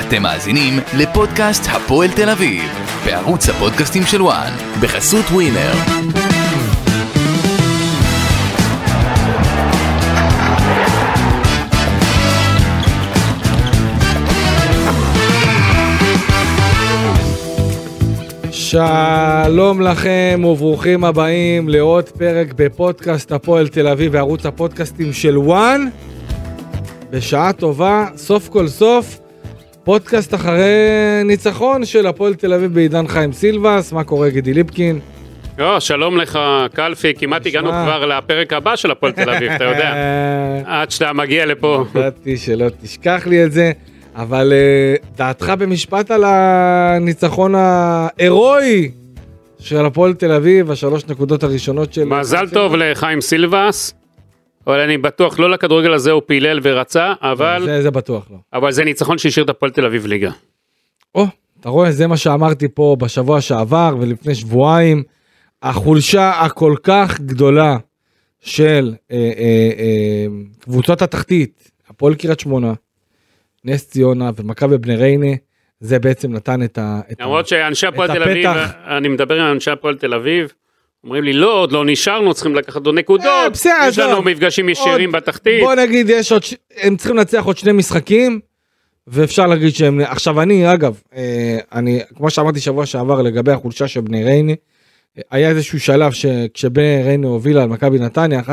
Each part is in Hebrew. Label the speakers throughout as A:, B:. A: אתם מאזינים לפודקאסט הפועל תל אביב, בערוץ הפודקאסטים של וואן, בחסות ווינר.
B: שלום לכם וברוכים הבאים לעוד פרק בפודקאסט הפועל תל אביב וערוץ הפודקאסטים של וואן. בשעה טובה, סוף כל סוף, פודקאסט אחרי ניצחון של הפועל תל אביב בעידן חיים סילבס, מה קורה גידי ליפקין?
C: לא, שלום לך קלפי, כמעט הגענו
B: נשמע.
C: כבר לפרק הבא של הפועל תל אביב, אתה יודע. עד שאתה מגיע לפה.
B: אה, ידעתי שלא תשכח לי את זה, אבל אה, דעתך במשפט על הניצחון ההירואי של הפועל תל אביב, השלוש נקודות הראשונות של...
C: מזל טוב לחיים סילבס, אבל אני בטוח לא לכדורגל הזה הוא פילל ורצה, אבל
B: זה, אה. זה בטוח לא.
C: אבל זה ניצחון שהשאיר את הפועל תל אביב ליגה.
B: או, אתה רואה, זה מה שאמרתי פה בשבוע שעבר ולפני שבועיים. החולשה הכל כך גדולה של אה, אה, אה, קבוצות התחתית, הפועל קריית שמונה, נס ציונה ומכבי בני ריינה, זה בעצם נתן את ה... את ה-
C: למרות שאנשי הפועל
B: את
C: תל אביב,
B: הפתח.
C: אני מדבר עם אנשי הפועל תל אביב, אומרים לי לא, עוד לא נשארנו, צריכים לקחת עוד
B: אה,
C: נקודות,
B: בסדר,
C: יש לנו
B: עזוב.
C: מפגשים ישירים
B: עוד-
C: בתחתית.
B: בוא נגיד, יש עוד... ש- הם צריכים לנצח עוד שני משחקים, ואפשר להגיד שהם... עכשיו אני, אגב, אה, אני, כמו שאמרתי שבוע שעבר לגבי החולשה של בני ריינה, אה, היה איזשהו שלב שכשבני ריינה הובילה על מכבי נתניה 1-0,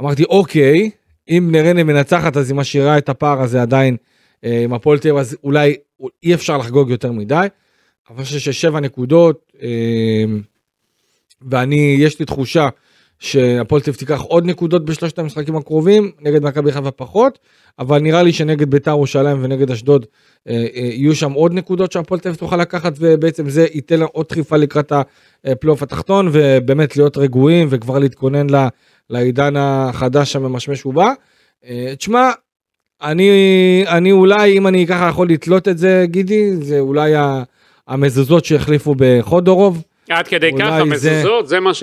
B: אמרתי, אוקיי, אם בני ריינה מנצחת אז היא משאירה את הפער הזה עדיין אה, עם הפועל תל אביב, אז אולי אי אפשר לחגוג יותר מדי. אבל אני חושב ששבע נקודות, אה, ואני, יש לי תחושה שהפועל תל אביב תיקח עוד נקודות בשלושת המשחקים הקרובים, נגד מכבי חיפה פחות, אבל נראה לי שנגד ביתר ירושלים ונגד אשדוד אה, אה, יהיו שם עוד נקודות שהפועל תל אביב תוכל לקחת, ובעצם זה ייתן לה עוד דחיפה לקראת הפלייאוף התחתון, ובאמת להיות רגועים וכבר להתכונן ל- לעידן החדש הממשמש ובא. אה, תשמע, אני, אני אולי, אם אני ככה יכול לתלות את זה, גידי, זה אולי ה- המזוזות שהחליפו בחודורוב.
C: עד כדי
B: אולי
C: ככה,
B: זה-
C: מזוזות, זה מה ש...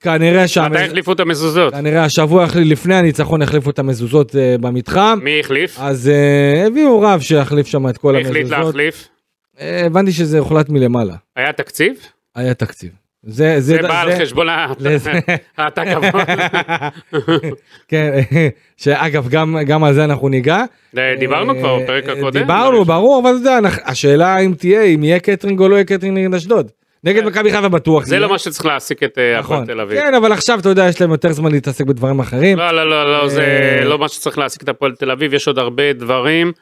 B: כנראה, שהמז...
C: מתי החליפו את המזוזות?
B: כנראה השבוע החליף- לפני הניצחון החליפו את המזוזות אה, במתחם.
C: מי החליף?
B: אז אה, הביאו רב שיחליף שם את כל
C: מי החליט
B: המזוזות.
C: להחליף?
B: אה, הבנתי שזה הוחלט מלמעלה,
C: היה תקציב?
B: היה תקציב. זה, זה,
C: זה בא על חשבון ה-
B: לזה-
C: התקבול.
B: כן, שאגב, גם, גם על זה אנחנו ניגע.
C: דיברנו כבר
B: אה,
C: בפרק
B: אה,
C: הקודם.
B: דיברנו, ברור, אבל אתה יודע, אנחנו- השאלה אם תהיה, אם יהיה קטרינג או לא יהיה קטרינג נגד אשדוד. נגד
C: כן.
B: מכבי חיפה בטוח.
C: זה
B: יהיה.
C: לא מה שצריך להעסיק את אה, הפועל
B: נכון.
C: תל אביב.
B: כן, אבל עכשיו, אתה יודע, יש להם יותר זמן להתעסק בדברים אחרים.
C: לא, לא, לא, לא, זה
B: אה,
C: לא מה שצריך להעסיק את הפועל תל אביב, יש עוד הרבה דברים.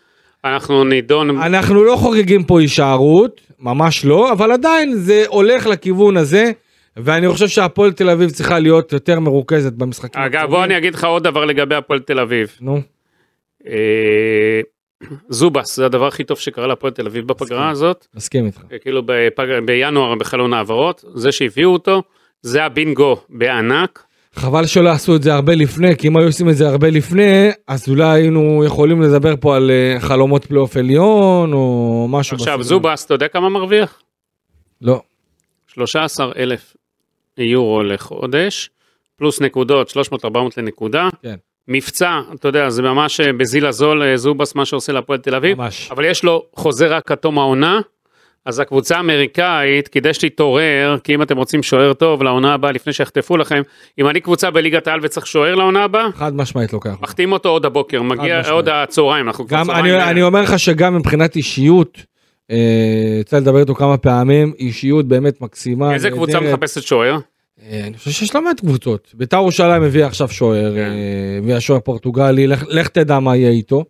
C: אנחנו נידון,
B: אנחנו לא חוגגים פה הישארות, ממש לא, אבל עדיין זה הולך לכיוון הזה, ואני חושב שהפועל תל אביב צריכה להיות יותר מרוכזת במשחקים.
C: אגב, בוא
B: הקרובים.
C: אני אגיד לך עוד דבר לגבי הפועל תל אביב.
B: נו,
C: אה, זובס, זה הדבר הכי טוב שקרה להפועל תל אביב בפגרה
B: מסכים.
C: הזאת.
B: מסכים איתך.
C: כאילו בפג- בינואר בחלון העברות, זה שהביאו אותו, זה הבינגו בענק.
B: חבל שלא עשו את זה הרבה לפני, כי אם היו עושים את זה הרבה לפני, אז אולי היינו יכולים לדבר פה על אה, חלומות פלייאוף עליון, או משהו
C: עכשיו,
B: בסגנון.
C: זובס, אתה יודע כמה מרוויח?
B: לא.
C: 13 אלף יורו לחודש, פלוס נקודות, 300-400 לנקודה.
B: כן.
C: מבצע, אתה יודע, זה ממש אה, בזיל הזול, אה, זובס, מה שעושה להפועל תל אביב.
B: ממש.
C: אבל יש לו חוזה רק עד תום העונה, אז הקבוצה האמריקאית, כדאי שתתעורר, כי אם אתם רוצים שוער טוב לעונה הבאה, לפני שיחטפו לכם, אם אני קבוצה בליגת העל וצריך שוער לעונה הבאה,
B: חד משמעית לוקח.
C: מחתים אותו עוד הבוקר, מגיע
B: משמעית.
C: עוד הצהריים, אנחנו כבר
B: גם
C: צהריים.
B: אני, אני אומר לך שגם מבחינת אישיות, אה, יצא לדבר איתו כמה פעמים, אישיות באמת מקסימה.
C: איזה קבוצה
B: נהדרת.
C: מחפשת שוער?
B: אה, אני חושב שיש לא מעט קבוצות. ביתר ירושלים הביאה עכשיו שוער,
C: כן.
B: אה, הביאה שוער פורטוגלי, לך- לך תדע מה יהיה איתו.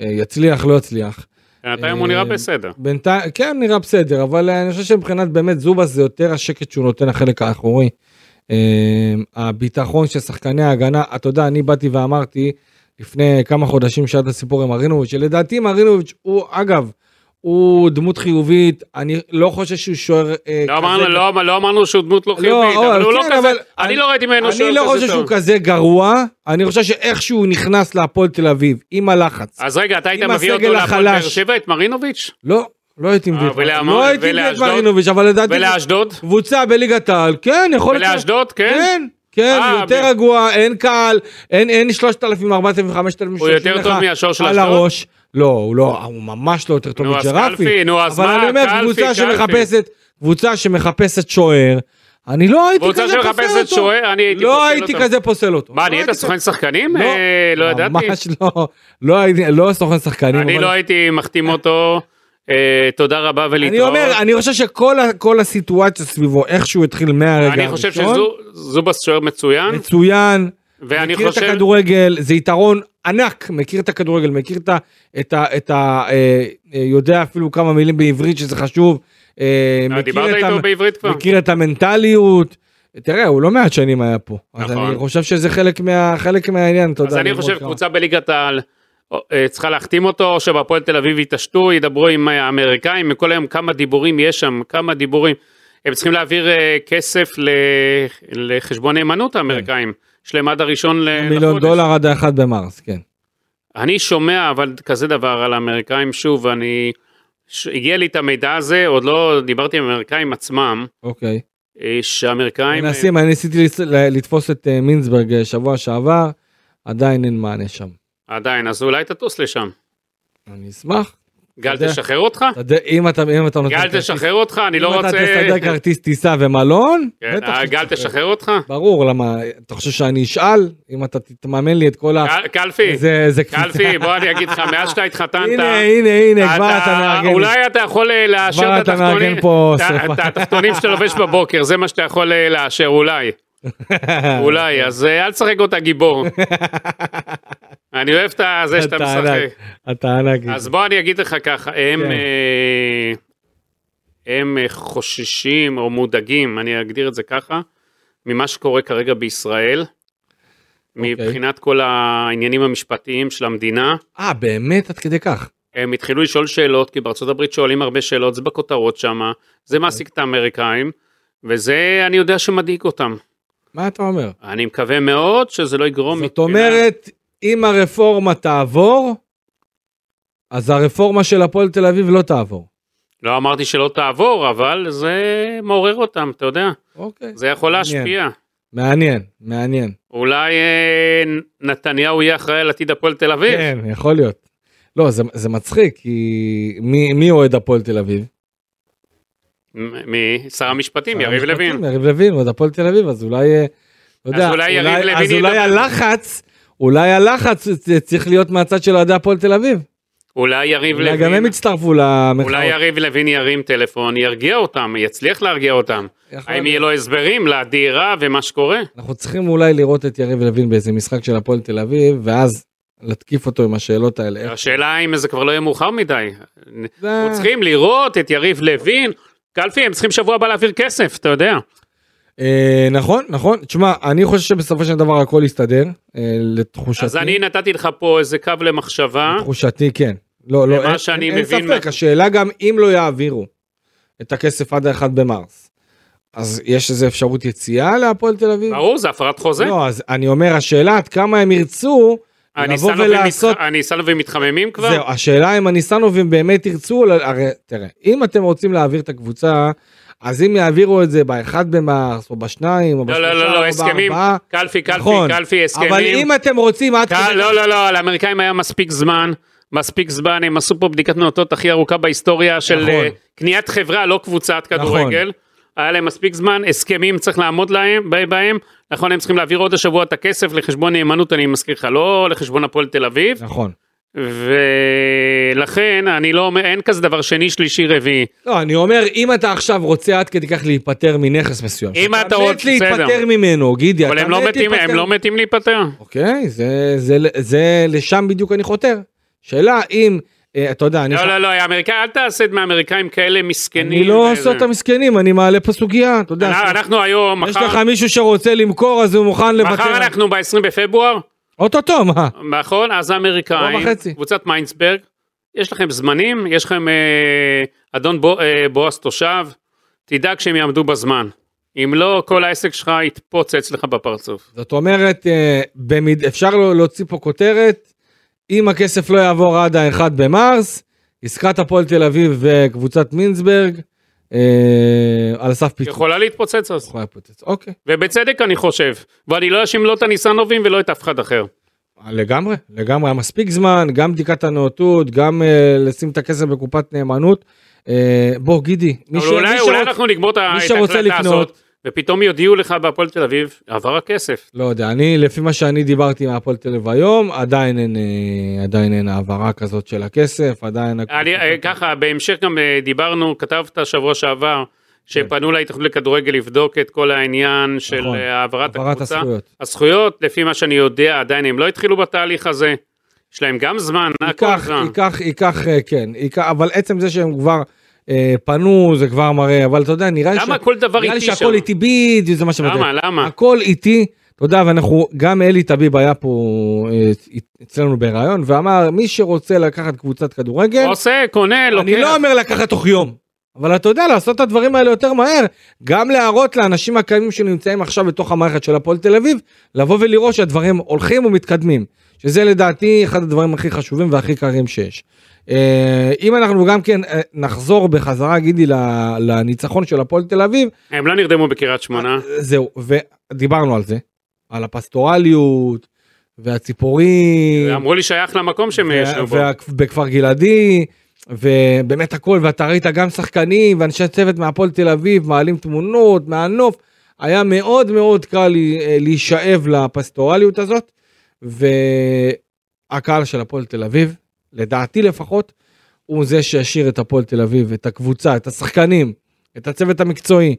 B: אה, יצליח, לא יצליח.
C: בינתיים הוא נראה
B: אה,
C: בסדר.
B: בינתיים, כן, נראה בסדר, אבל אה, אני חושב שמבחינת באמת זובס זה יותר השקט שהוא נותן לחלק האחורי. אה, הביטחון של שחקני ההגנה, אתה יודע, אני באתי ואמרתי לפני כמה חודשים שהיה את הסיפור עם ארינוביץ', שלדעתי מרינוביץ' הוא, אגב, הוא דמות חיובית, אני לא חושב שהוא שוער אה,
C: לא אמרנו,
B: כזה
C: לא, לא אמרנו שהוא דמות לא חיובית,
B: אוהב,
C: אבל הוא לא
B: כן,
C: כזה,
B: אבל
C: אני
B: אני-
C: לא ראיתי ממנו
B: אני לא
C: שהוא כזה
B: חושב שהוא
C: טוב.
B: כזה גרוע, אני חושב שאיך שהוא נכנס להפועל תל אביב, עם הלחץ.
C: אז רגע, אתה היית
B: עם
C: מביא אותו
B: הסגל
C: להפועל באר
B: החלש.
C: שבע, את מרינוביץ'?
B: לא, לא הייתי מביא
C: אה,
B: את
C: ולאמר-
B: לא הייתי מביא את
C: ולאשדוד?
B: מרינוביץ', אבל לדעתי
C: ולאשדוד?
B: קבוצה בליגת העל, כן, יכול להיות.
C: ולאשדוד, כן?
B: כן, כן,
C: אה,
B: יותר
C: ב-
B: רגוע, אין קהל, אין אין 3,000, 4,000, 5,000
C: הוא יותר
B: שיושבים
C: טוב
B: לך
C: מהשוער של
B: על
C: אשדוד?
B: הראש. לא, הוא לא, הוא ממש לא יותר טוב
C: נו, אז
B: מג'רפי.
C: קלפי, נו, אז
B: אבל
C: מה,
B: אני אומר,
C: קלפי,
B: קבוצה
C: קלפי.
B: שמחפשת, קבוצה שמחפשת שוער, אני לא הייתי
C: קבוצה
B: כזה פוסל אותו.
C: שמחפשת שוער, אני הייתי
B: לא
C: פוסל
B: הייתי
C: אותו.
B: כזה פוסל אותו.
C: מה,
B: לא
C: נהיית
B: הייתי
C: סוכן שחקנים?
B: לא.
C: אה, לא ידעתי.
B: ממש לא, לא הייתי, לא סוכן שחקנים.
C: אני
B: אבל-
C: לא הייתי מחתים אותו, אה, תודה רבה
B: אני
C: ולהתראות.
B: אומר, אני חושב שכל ה- כל הסיטואציה סביבו, איך שהוא התחיל מהרגע הראשון,
C: אני חושב שזובס שוער מצוין,
B: מצוין,
C: ואני
B: מכיר את
C: חושב...
B: הכדורגל, זה יתרון ענק, מכיר את הכדורגל, מכיר את ה... את ה, את ה אה, אה, יודע אפילו כמה מילים בעברית שזה חשוב, אה,
C: אה,
B: מכיר,
C: דיברת
B: את,
C: איתו
B: המ...
C: בעברית כבר?
B: מכיר את המנטליות, תראה, הוא לא מעט שנים היה פה, אז
C: נכון.
B: אני חושב שזה חלק, מה, חלק מהעניין, אתה
C: אז
B: יודע.
C: אני
B: ללמוד
C: חושב
B: כמה.
C: קבוצה בליגת העל אה, אה, צריכה להחתים אותו, או שבהפועל תל אביב יתעשתו, ידברו עם אה, האמריקאים, כל היום כמה דיבורים יש שם, כמה דיבורים. הם צריכים להעביר אה, כסף ל- לחשבון נאמנות האמריקאים, יש להם עד הראשון ל- אה, לחודש.
B: כן. מיליון דולר עד האחד במרס, כן.
C: אני שומע אבל כזה דבר על האמריקאים, שוב, אני... ש... הגיע לי את המידע הזה, עוד לא דיברתי עם האמריקאים עצמם,
B: אוקיי.
C: אה, שהאמריקאים...
B: מנסים, אני ניסיתי לס- ל- לתפוס את אה, מינסברג אה, שבוע שעבר, עדיין אין מענה שם.
C: עדיין, אז אולי תטוס לשם.
B: אני אשמח.
C: גל,
B: אתה יודע.
C: תשחרר אותך?
B: אתה יודע, אם אתה אם אתה נותן...
C: גל,
B: כרטיס-
C: תשחרר אותך? אני לא
B: אם
C: רוצה...
B: אתה תסדר כרטיס טיסה ומלון,
C: כן,
B: בטח
C: גל,
B: שתשחרר.
C: תשחרר אותך?
B: ברור, למה, אתה חושב שאני אשאל? אם אתה תממן לי את כל ה...
C: גל- קלפי,
B: אה. זה- זה
C: קלפי, בוא אני אגיד לך, מאז שאתה התחתנת...
B: הנה, הנה, הנה, כבר אתה מארגן.
C: אולי אתה יכול אה, לאשר
B: כבר
C: את
B: אתה מארגן
C: התחתונים,
B: פה
C: את ה-
B: שרפה.
C: את התחתונים שאתה לובש בבוקר, זה מה שאתה יכול אה, לאשר, אולי. אולי, אז אה, אל תשחק אותה גיבור. אני אוהב את ה- זה שאתה
B: אתה
C: משחק.
B: ענק, אתה ענק.
C: אז בוא אני אגיד לך ככה, הם...
B: כן.
C: אה, הם אה, חוששים או מודאגים, אני אגדיר את זה ככה, ממה שקורה כרגע בישראל,
B: אוקיי.
C: מבחינת כל העניינים המשפטיים של המדינה.
B: אה, באמת? עד כדי כך.
C: הם התחילו לשאול שאלות, כי בארצות הברית שואלים הרבה שאלות, זה בכותרות שמה,
B: אוקיי.
C: זה מעסיק את האמריקאים, וזה אני יודע שמדאיג אותם.
B: מה אתה אומר?
C: אני מקווה מאוד שזה לא יגרום...
B: זאת
C: מבחינה-
B: אומרת, אם הרפורמה תעבור, אז הרפורמה של הפועל תל אביב לא תעבור.
C: לא אמרתי שלא תעבור, אבל זה מעורר אותם, אתה יודע.
B: אוקיי.
C: זה יכול
B: מעניין.
C: להשפיע.
B: מעניין, מעניין.
C: אולי אה, נתניהו יהיה אחראי על עתיד הפועל תל אביב.
B: כן, יכול להיות. לא, זה, זה מצחיק, כי מי, מי אוהד הפועל תל אביב?
C: מ- מי? שר המשפטים, יריב
B: שר המשפטים,
C: לוין.
B: יריב לוין אוהד הפועל תל אביב, אז אולי... אה, לא יודע,
C: אז אולי יריב לוין
B: אז אולי
C: ידבר.
B: הלחץ, אולי הלחץ צ- צריך להיות מהצד של אוהדי הפועל תל אביב.
C: אולי יריב
B: אולי גם הם
C: לוין.
B: יצטרפו למחאות.
C: אולי יריב לוין ירים טלפון, ירגיע אותם, יצליח להרגיע אותם.
B: יכול
C: האם
B: להיות.
C: יהיה לו הסברים לדהירה ומה שקורה?
B: אנחנו צריכים אולי לראות את יריב לוין באיזה משחק של הפועל תל אביב, ואז להתקיף אותו עם השאלות האלה. איך-
C: השאלה אם זה כבר לא יהיה מאוחר מדי.
B: זה-
C: אנחנו צריכים לראות את יריב לוין. קלפי, הם צריכים שבוע הבא להעביר כסף, אתה יודע.
B: אה, נכון, נכון. תשמע, אני חושב שבסופו של דבר הכל יסתדר, אה, לתחושתי.
C: אז אני נתתי לך פה איזה קו למחשבה.
B: תחושתי כן. לא, לא,
C: ומה
B: אין,
C: אה? שאני
B: אין,
C: מבין
B: אין ספק,
C: מה-
B: השאלה גם אם לא יעבירו את הכסף עד ה-1 במרס, אז יש איזה אפשרות יציאה להפועל תל אביב?
C: ברור, זה הפרת חוזה.
B: לא, אז אני אומר, השאלה עד כמה הם ירצו
C: אה,
B: לבוא
C: הניסנובים
B: ולעשות...
C: מתח- הניסנובים מתחממים כבר?
B: זהו, השאלה אם הניסנובים באמת ירצו, ל- הרי תראה, אם אתם רוצים להעביר את הקבוצה, אז אם יעבירו את זה ב-1 במרס, או ב-2, או
C: לא,
B: ב-3,
C: לא, לא,
B: או
C: לא, הסכמים,
B: ב-4,
C: קלפי, קלפי,
B: נכון.
C: קלפי,
B: אבל
C: הסכמים.
B: אם אתם רוצים עד
C: קל- לא, לא, לא, לאמריקאים היה מספיק זמן, מספיק זמן, הם עשו פה בדיקת נאותות הכי ארוכה בהיסטוריה של
B: נכון.
C: אה, קניית חברה, לא קבוצת כדורגל. היה להם מספיק זמן, הסכמים צריך לעמוד להם, ב- בהם. נכון, הם צריכים להעביר עוד השבוע את הכסף לחשבון נאמנות, אני מזכיר לך, לא לחשבון הפועל תל אביב.
B: נכון.
C: ולכן, אני לא אומר, אין כזה דבר שני, שלישי, רביעי.
B: לא, אני אומר, אם אתה עכשיו רוצה עד כדי כך להיפטר מנכס מסוים,
C: אם
B: שאתה
C: אתה רוצה-
B: מת להיפטר
C: בסדר.
B: ממנו, גידי,
C: אבל
B: אתה
C: הם לא
B: מת
C: מתים- הם
B: להיפטר-
C: לא מתים להיפטר.
B: אוקיי, זה, זה, זה לשם בדיוק אני חותר. שאלה אם, אה, אתה יודע, אני,
C: לא, לא, לא, האמריקאים, אל תעשה את מהאמריקאים כאלה מסכנים.
B: אני לא
C: וזה.
B: עושה את המסכנים, אני מעלה פה סוגיה, אתה יודע,
C: אנ-
B: ש-
C: לא, אנחנו היום,
B: יש
C: מחר,
B: לך מישהו שרוצה למכור אז הוא מוכן לוותר.
C: מחר
B: על-
C: אנחנו ב-20 בפברואר,
B: אוטוטו, מה?
C: נכון? אז האמריקאים,
B: שבוע וחצי.
C: קבוצת מיינסברג, יש לכם זמנים, יש לכם אה, אדון בו- אה, בועז תושב, תדאג שהם יעמדו בזמן. אם לא, כל העסק שלך יתפוצץ לך בפרצוף.
B: זאת אומרת, אה, במיד, אפשר לו- להוציא פה כותרת, אם הכסף לא יעבור עד ה-1 במרס, עסקת הפועל תל אביב וקבוצת מינסברג, אה, על סף פיצוץ.
C: יכולה להתפוצץ אז,
B: יכולה לפוצץ, אוקיי.
C: ובצדק אני חושב, ואני לא אאשים לא את הניסנובים ולא את אף אחד אחר.
B: לגמרי, לגמרי, היה מספיק זמן, גם בדיקת הנאותות, גם אה, לשים את הכסף בקופת נאמנות. אה, בוא, גידי, מי
C: אבל אולי,
B: שרוצ-
C: אולי אנחנו נגמור את ה-
B: מי
C: את
B: שרוצה
C: ההקלטה
B: לקנות-
C: הזאת, ופתאום יודיעו לך בהפועל תל אביב, עבר הכסף.
B: לא יודע, אני, לפי מה שאני דיברתי עם הפועל תל אביב היום, עדיין אין, אה, עדיין אין העברה כזאת של הכסף, עדיין...
C: אני,
B: אוקיי.
C: אה, ככה, בהמשך גם אה, דיברנו, כתבת שבוע שעבר, שפנו להתאחדות לכדורגל לבדוק את כל העניין של
B: כן. נכון.
C: אה, העברת
B: העברת
C: הקבוצה.
B: הזכויות.
C: הזכויות, לפי מה שאני יודע, עדיין הם לא התחילו בתהליך הזה. יש להם גם זמן, הכל
B: ייקח,
C: זמן.
B: ייקח, ייקח, אה, כן, ייקח, אבל עצם זה שהם כבר אה, פנו, זה כבר מראה, אבל אתה יודע, נראה לי
C: למה
B: שה-
C: כל דבר
B: נראה לי
C: איטי שם?
B: שהכל איטי בדיוק, זה מה שבדק.
C: למה, למה?
B: הכל איטי, אתה יודע, ואנחנו, גם אלי טביב היה פה אה, אצלנו בריאיון, ואמר, מי שרוצה לקחת קבוצת כדורגל,
C: עושה, קונה, לוקח.
B: כן. אני לא אומר לקחת תוך יום, אבל אתה יודע, לעשות את הדברים האלה יותר מהר, גם להראות לאנשים הקיימים שנמצאים עכשיו בתוך המערכת של הפועל תל אביב, לבוא ולראות שהדברים הולכים ומתקדמים, שזה לדעתי אחד הדברים הכי חשובים והכי קרים שיש. אה, אם אנחנו גם כן אה, נחזור בחזרה, גידי, ל- לניצחון של הפועל תל אביב,
C: הם לא נרדמו בקריית שמונה.
B: זהו, ודיברנו על זה, על הפסטורליות והציפורים.
C: אמרו לי שייך למקום שהם ישנו בו.
B: ובכפר גלעדי, ובאמת הכל, ואתה ראית גם שחקנים ואנשי צוות מהפועל תל אביב, מעלים תמונות מהנוף, היה מאוד מאוד קל לי- אה, להישאב לפסטורליות הזאת, והקהל של הפועל תל אביב, לדעתי לפחות, הוא זה שהשאיר את הפועל תל אביב, את הקבוצה, את השחקנים, את הצוות המקצועי,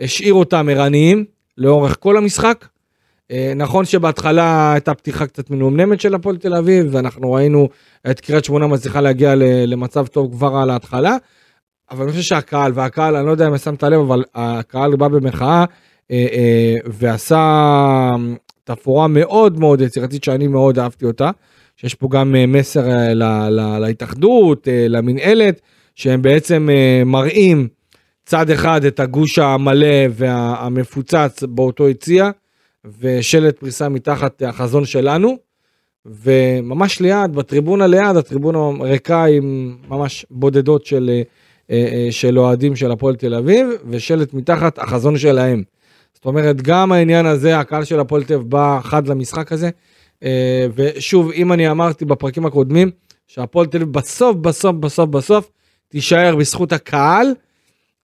B: השאיר אותם ערניים לאורך כל המשחק. אה, נכון שבהתחלה הייתה פתיחה קצת מנומנמת של הפועל תל אביב, ואנחנו ראינו את קריית שמונה מצליחה להגיע ל- למצב טוב כבר על ההתחלה, אבל אני חושב שהקהל, והקהל, אני לא יודע אם שמת לב, אבל הקהל בא במחאה אה, אה, ועשה אמ, תפאורה מאוד מאוד יצירתית שאני מאוד אהבתי אותה, שיש פה גם אה, מסר אה, ל- ל- להתאחדות, אה, למינהלת, שהם בעצם אה, מראים צד אחד את הגוש המלא והמפוצץ באותו יציע, ושלט פריסה מתחת החזון שלנו, וממש ליד, בטריבונה ליד, הטריבונה ריקה עם ממש בודדות של, אה, אה, אה, של אוהדים של הפועל תל אביב, ושלט מתחת החזון שלהם. זאת אומרת, גם העניין הזה, הקהל של הפועל תל אביב בא חד למשחק הזה, אה, ושוב, אם אני אמרתי בפרקים הקודמים, שהפועל תל אביב בסוף, בסוף, בסוף, בסוף, תישאר בזכות הקהל.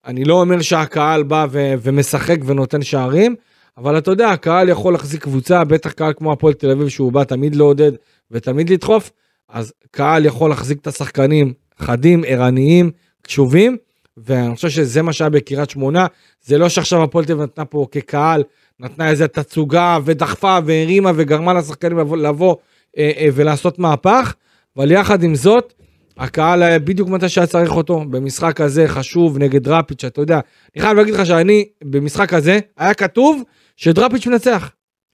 B: אני לא אומר שהקהל בא ו- ומשחק ונותן שערים, אבל אתה יודע, הקהל יכול להחזיק קבוצה, בטח קהל כמו הפועל תל אביב, שהוא בא תמיד לעודד ותמיד לדחוף, אז קהל יכול להחזיק את השחקנים חדים, ערניים, קשובים, ואני חושב שזה מה שהיה בקריית שמונה, זה לא שעכשיו הפועל תל אביב נתנה פה כקהל, נתנה איזה תצוגה ודחפה והרימה וגרמה לשחקנים לבוא, לבוא אה, אה, ולעשות מהפך, אבל יחד עם זאת, הקהל היה בדיוק מתי שהיה צריך אותו, במשחק הזה חשוב נגד דראפיץ', אתה יודע, אני חייב להגיד לך שאני, במשחק הזה, היה כתוב שדראפיץ' מנצח.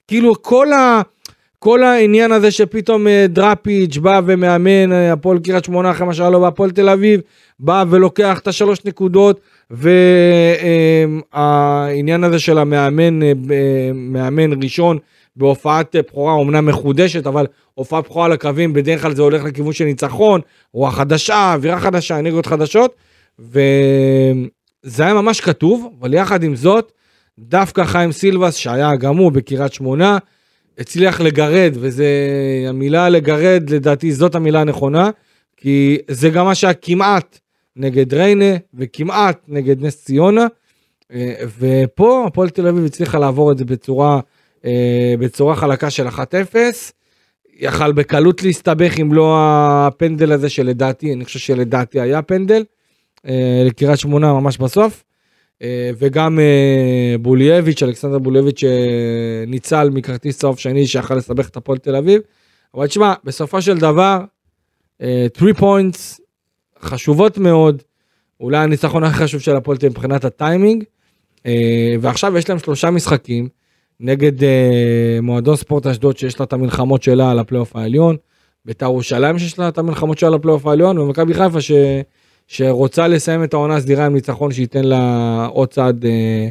B: כאילו כל, ה, כל העניין הזה שפתאום אה, דראפיץ' בא ומאמן אה, הפועל קריית שמונה אחרי מה שהיה לו בהפועל תל אביב, בא ולוקח את השלוש נקודות, והעניין הזה של המאמן אה, ב- אה, מאמן ראשון בהופעת אה, בכורה אומנם מחודשת, אבל הופעת בכורה על הקווים, בדרך כלל זה הולך לכיוון של ניצחון, רוח חדשה, אווירה חדשה, אנרגיות חדשות, וזה היה ממש כתוב, אבל יחד עם זאת, דווקא חיים סילבס, שהיה גם הוא בקריית שמונה, הצליח לגרד, וזה המילה לגרד, לדעתי זאת המילה הנכונה, כי זה גם מה שהיה כמעט נגד ריינה, וכמעט נגד נס ציונה, אה, ופה הפועל תל אביב הצליחה לעבור את זה בצורה, אה, בצורה חלקה של 1-0. יכל בקלות להסתבך אם לא הפנדל הזה שלדעתי, אני חושב שלדעתי היה פנדל, אה, לקריית שמונה ממש בסוף. אה, וגם אה, בולייביץ', אלכסנדר בולייביץ' שניצל מכרטיס צהוב שני שיכל לסבך את הפועל תל אביב. אבל תשמע, בסופו של דבר, 3 פוינטס חשובות מאוד, אולי הניצחון הכי חשוב של הפועל תל אביב מבחינת הטיימינג. אה, ועכשיו יש להם שלושה משחקים נגד אה, מועדון ספורט אשדוד שיש לה את המלחמות שלה על הפלייאוף העליון, בית"ר ירושלים שיש לה את המלחמות שלה על הפלייאוף העליון, ומכבי חיפה ש... שרוצה לסיים את העונה הסדירה עם ניצחון שייתן לה עוד צעד אה,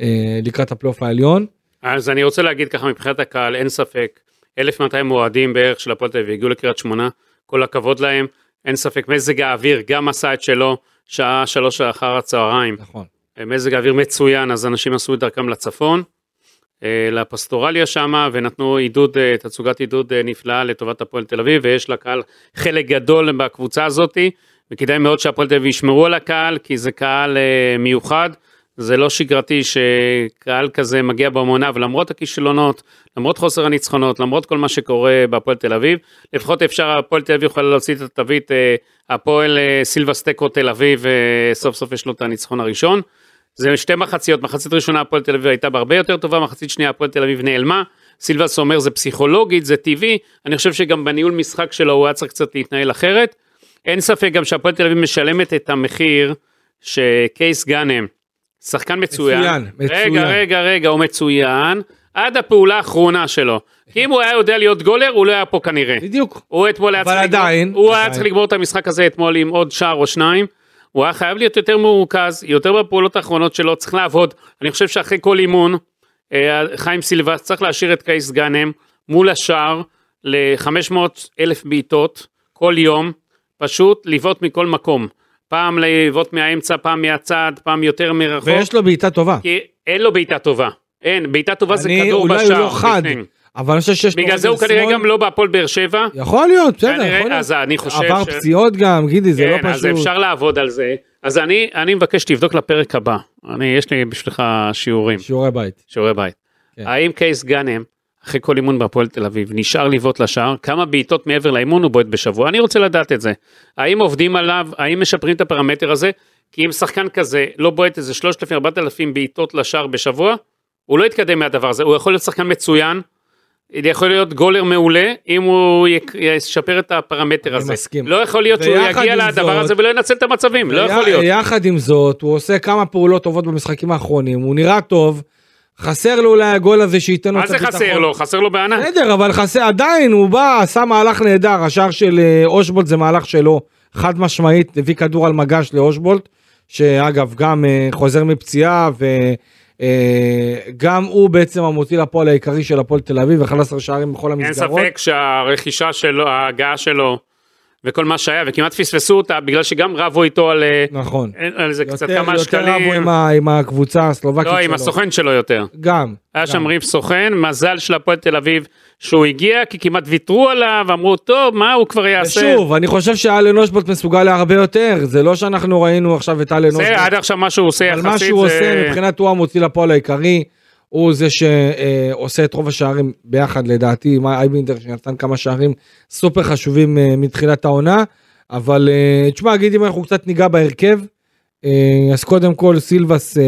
B: אה, לקראת הפלייאוף העליון.
C: אז אני רוצה להגיד ככה, מבחינת הקהל, אין ספק, 1,200 אוהדים בערך של הפועל תל אביב הגיעו לקריית שמונה, כל הכבוד להם, אין ספק, מזג האוויר גם עשה את שלו, שעה שלוש אחר הצהריים,
B: נכון.
C: מזג האוויר מצוין, אז אנשים עשו את דרכם לצפון. אה, לפסטורליה שם, ונתנו עידוד, אה, תצוגת עידוד אה, נפלאה לטובת הפועל תל אביב, ויש לקהל חלק גדול בקבוצה הזאתי, וכדאי מאוד שהפועל תל אביב ישמרו על הקהל, כי זה קהל אה, מיוחד. זה לא שגרתי שקהל כזה מגיע במעוניו למרות הכישלונות, למרות חוסר הניצחונות, למרות כל מה שקורה בהפועל תל אביב. לפחות אפשר, הפועל תל אביב יכולה להוציא את התווית, אה, הפועל אה, סילבה סטקו תל אביב, אה, סוף סוף יש לו את הניצחון הראשון. זה שתי מחציות, מחצית ראשונה הפועל תל אביב הייתה בהרבה יותר טובה, מחצית שנייה הפועל תל אביב נעלמה. סילבס אומר זה פסיכולוגית, זה טבעי, אני חושב שגם בניהול משחק שלו הוא היה צריך קצת להתנהל אחרת. אין ספק גם שהפועל תל אביב משלמת את המחיר שקייס גאנם, שחקן מצוין.
B: מצוין, מצוין.
C: רגע, רגע, רגע, הוא מצוין, עד הפעולה האחרונה שלו. כי אם הוא היה יודע להיות גולר, הוא לא היה פה כנראה.
B: בדיוק.
C: הוא אתמול היה
B: אבל
C: צריך,
B: עדיין-
C: לגמור, הוא היה
B: עדיין.
C: צריך לגמור את המשחק הזה אתמול עם עוד שער או שניים. הוא היה חייב להיות יותר מורכז, יותר בפעולות האחרונות שלו, צריך לעבוד. אני חושב שאחרי כל אימון, אה, חיים סילבס צריך להשאיר את קייס גאנם מול השער ל-500 אלף בעיטות כל יום, פשוט לבעוט מכל מקום. פעם לבעוט מהאמצע, פעם מהצד, פעם יותר מרחוק.
B: ויש לו בעיטה טובה.
C: כי אין לו בעיטה טובה. אין, בעיטה טובה זה
B: אני-
C: כדור
B: אולי
C: בשער.
B: הוא לא חד,
C: בפנים.
B: אבל אני חושב שיש לו
C: בגלל זה
B: רגל
C: הוא כנראה
B: שמאל.
C: גם לא בהפועל באר שבע.
B: יכול להיות, בסדר,
C: כנראה,
B: יכול להיות.
C: אז אני חושב
B: עבר
C: ש-
B: פציעות גם, גידי, זה לא
C: כן, אז
B: פשוט.
C: אפשר לעבוד על זה. אז אני, אני מבקש שתבדוק לפרק הבא. אני, יש לי בשבילך שיעורים,
B: שיעורי בית.
C: שיעורי בית.
B: כן.
C: האם קייס גאנם, אחרי כל אימון בהפועל תל אביב, נשאר לבעוט לשער? כמה בעיטות מעבר לאימון הוא בועט בשבוע? אני רוצה לדעת את זה. האם עובדים עליו? האם משפרים את הפרמטר הזה? כי אם שחקן כזה לא בועט איזה 3,000-4,000 בעיטות לשער בשבוע, הוא לא יתקדם מהדבר הזה. הוא יכול להיות שחקן מצוין. יכול להיות גולר מעולה אם הוא יק- ישפר את הפרמטר
B: אני
C: הזה.
B: מסכים.
C: לא יכול להיות שהוא
B: ויחד
C: יגיע
B: עם
C: לדבר
B: זאת-
C: הזה ולא ינצל את המצבים, לא יכול
B: י-
C: להיות.
B: יחד עם זאת, הוא עושה כמה פעולות טובות במשחקים האחרונים, הוא נראה טוב, חסר לו אולי הגול הזה שייתן לו
C: מה
B: את
C: זה
B: הביטחון.
C: חסר לו? חסר לו בענק.
B: בסדר, אבל חסר, עדיין הוא בא, עשה מהלך נהדר, השער של אה, אושבולט זה מהלך שלו, חד משמעית, הביא כדור על מגש לאושבולט, שאגב, גם אה, חוזר מפציעה, וגם הוא בעצם המוציא לפועל העיקרי של הפועל תל אביב, 11 שערים בכל
C: אין
B: המסגרות.
C: ספק שהרכישה שלו, ההגעה שלו וכל מה שהיה, וכמעט פספסו אותה בגלל שגם רבו איתו על אה,
B: נכון.
C: אין- על איזה קצת
B: יותר-
C: כמה
B: יותר רבו
C: שקלים.
B: עם ה- עם הקבוצה הסלובקית שלו.
C: לא, עם הסוכן שלו יותר.
B: גם.
C: היה
B: גם.
C: שם ריב סוכן, מזל של הפועל תל אביב שהוא הגיע, כי כמעט ויתרו עליו, אמרו, טוב, מה הוא כבר יעשה?
B: ושוב, אני חושב שאלן אושבולט מסוגל להרבה יותר, זה לא שאנחנו ראינו עכשיו את אלן אושבולט.
C: זה עד עכשיו מה שהוא עושה
B: אבל מה
C: יחסית,
B: שהוא
C: זה-
B: עושה מבחינת הוא המוציא לפועל העיקרי, הוא זה שעושה את רוב השערים ביחד לדעתי עם אייבינדר שנתן כמה שערים סופר חשובים אה, מתחילת העונה, אבל אה, תשמע גידי אם אנחנו קצת ניגע בהרכב, אה, אז קודם כל סילבס אה,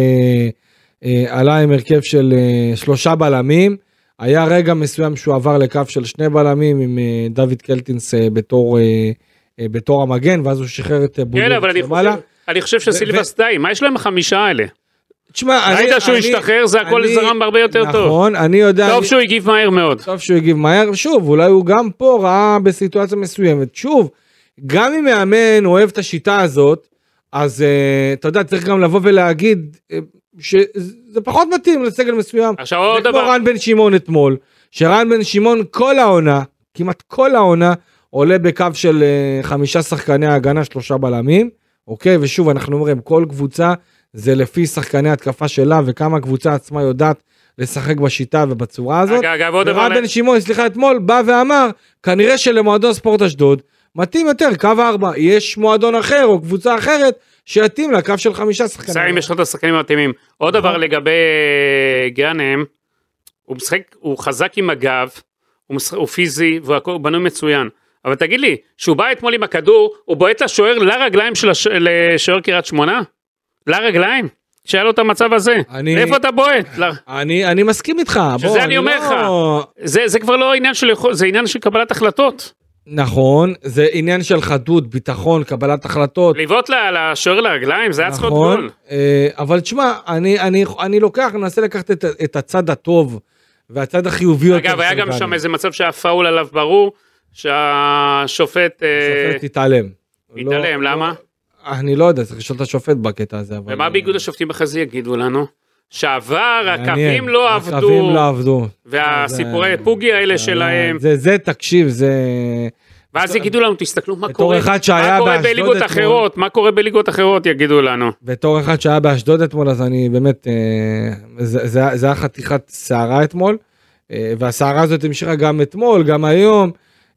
B: אה, עלה עם הרכב של אה, שלושה בלמים. היה רגע מסוים שהוא עבר לקו של שני בלמים עם אה, דוד קלטינס אה, בתור אה, אה, בתור המגן ואז הוא שחרר את אה,
C: כן, אבל אני
B: למעלה.
C: חושב- אני חושב שסילבס די, מה יש להם החמישה האלה?
B: תשמע, אני-
C: ראית שהוא
B: אני-
C: השתחרר, זה הכל
B: אני-
C: זרם הרבה יותר טוב.
B: נכון, אני יודע...
C: טוב
B: אני-
C: שהוא הגיב מהר מאוד.
B: טוב שהוא הגיב מהר. שוב, אולי הוא גם פה ראה בסיטואציה מסוימת. שוב, גם אם מאמן אוהב את השיטה הזאת, אז אה, אתה יודע, צריך גם לבוא ולהגיד אה, שזה פחות מתאים לסגל מסוים.
C: עכשיו עוד
B: זה כמו
C: דבר,
B: רן בן שמעון אתמול, שרן בן שמעון כל העונה, כמעט כל העונה, עולה בקו של אה, חמישה שחקני הגנה, שלושה בלמים, אוקיי? ושוב, אנחנו אומרים, כל קבוצה זה לפי שחקני התקפה שלה, וכמה הקבוצה עצמה יודעת לשחק בשיטה ובצורה הזאת.
C: אגב, אגב, עוד דבר,
B: ורן בן שמעון, סליחה, אתמול בא ואמר, כנראה שלמועדון ספורט אשדוד מתאים יותר קו ארבע, יש מועדון אחר או קבוצה אחרת שיתאים לקו של חמישה שחקנים.
C: סיים יש לך את השחקנים המתאימים. עוד דבר לגבי אה, גאנם, הוא משחק, הוא חזק עם הגב, הוא משחק- הוא פיזי, והכל- הוא בנוי מצוין. אבל תגיד לי, כשהוא בא אתמול עם הכדור, הוא בועט לשוער, לרגליים של הש- לשוער קריית שמונה? לרגליים? שהיה לו את המצב הזה.
B: אני-
C: איפה אתה בועט? ל-
B: אני, אני מסכים איתך,
C: שזה
B: בוא,
C: אני אומר
B: לא... לך.
C: זה זה כבר לא עניין של יכול, זה עניין של קבלת החלטות.
B: נכון, זה עניין של חדות, ביטחון, קבלת החלטות.
C: לבעוט ל- לשוער לרגליים, זה היה צריך להיות גול.
B: נכון, אה, אבל תשמע, אני, אני, אני לוקח, מנסה לקחת את, את הצד הטוב והצד החיובי יותר.
C: אגב, היה
B: של
C: גם
B: גני.
C: שם איזה מצב שהיה פאול עליו ברור, שהשופט אה,
B: השופט התעלם.
C: התעלם,
B: לא-
C: למה?
B: אני לא יודע, צריך לשאול את השופט בקטע הזה. אבל- אה,
C: ומה באיגוד השופטים אחרי זה יגידו לנו? שעבר,
B: מעניין.
C: הקווים לא
B: הקווים
C: עבדו,
B: לא עבדו.
C: והסיפורי פוגי האלה
B: זה-
C: שלהם,
B: זה, זה, תקשיב, זה...
C: ואז יגידו לנו, תסתכלו מה
B: בתור
C: קורה,
B: אחד
C: מה
B: שהיה
C: קורה
B: באשדוד
C: בליגות
B: אתמול.
C: אחרות, מה קורה בליגות אחרות, יגידו לנו.
B: בתור אחד שהיה באשדוד אתמול אז אני באמת אה, זה, זה, זה היה חתיכת סערה אתמול אה, והסערה הזאת המשיכה גם אתמול גם היום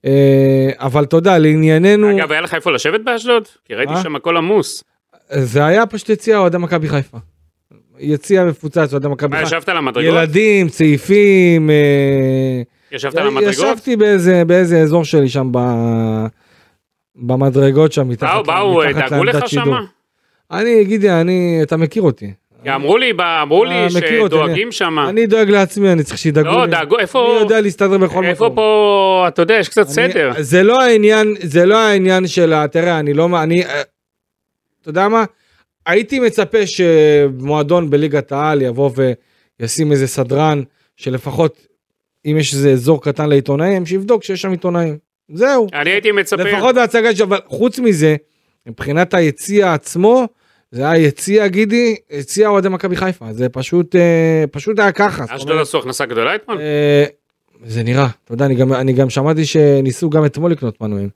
B: אה, אבל אתה יודע לענייננו
C: אגב, היה לך איפה לשבת באשדוד? כי ראיתי
B: מה?
C: שם הכל עמוס.
B: זה היה פשוט יציע אוהדי מכבי חיפה. יציע מפוצץ אוהדי מכבי
C: מה,
B: חיפה.
C: ישבת על המדרגות?
B: ילדים צעיפים. אה,
C: ישבת על המדרגות?
B: ישבתי באיזה באיזה אזור שלי שם ב... במדרגות שם מתחת
C: אה, באו,
B: ל-
C: באו,
B: מתחת
C: דאגו
B: לעמדת
C: לך
B: שידור.
C: שמה?
B: אני גידי אני אתה מכיר אותי.
C: כי אמרו לי, ב- אמרו לי
B: אה, מכיר אותי,
C: שדואגים שם.
B: אני דואג לעצמי אני צריך שידאגו
C: אה. לא,
B: לי.
C: דאגו,
B: אני
C: איפה,
B: יודע להסתדר בכל מקום.
C: איפה פה, אתה יודע, יש קצת
B: אני-
C: סדר.
B: זה לא העניין, זה לא העניין של ה... תראה, אני לא... מה- אני... אה, אתה יודע מה? הייתי מצפה שמועדון בליגת העל יבוא וישים איזה סדרן, שלפחות אם יש איזה אזור קטן לעיתונאים, שיבדוק שיש שם עיתונאים. זהו.
C: אני הייתי מצפה,
B: לפחות בהצגה שלו, אבל חוץ מזה, מבחינת היציע עצמו, זה היה יציע, גידי, יציע אוהדי מכבי חיפה. זה פשוט, אה, פשוט היה ככה. זאת
C: אשדוד
B: אומרת,
C: עשו הכנסה גדולה אתמול?
B: אה, זה נראה, אתה יודע, אני גם, אני גם שמעתי שניסו גם אתמול לקנות מנויים.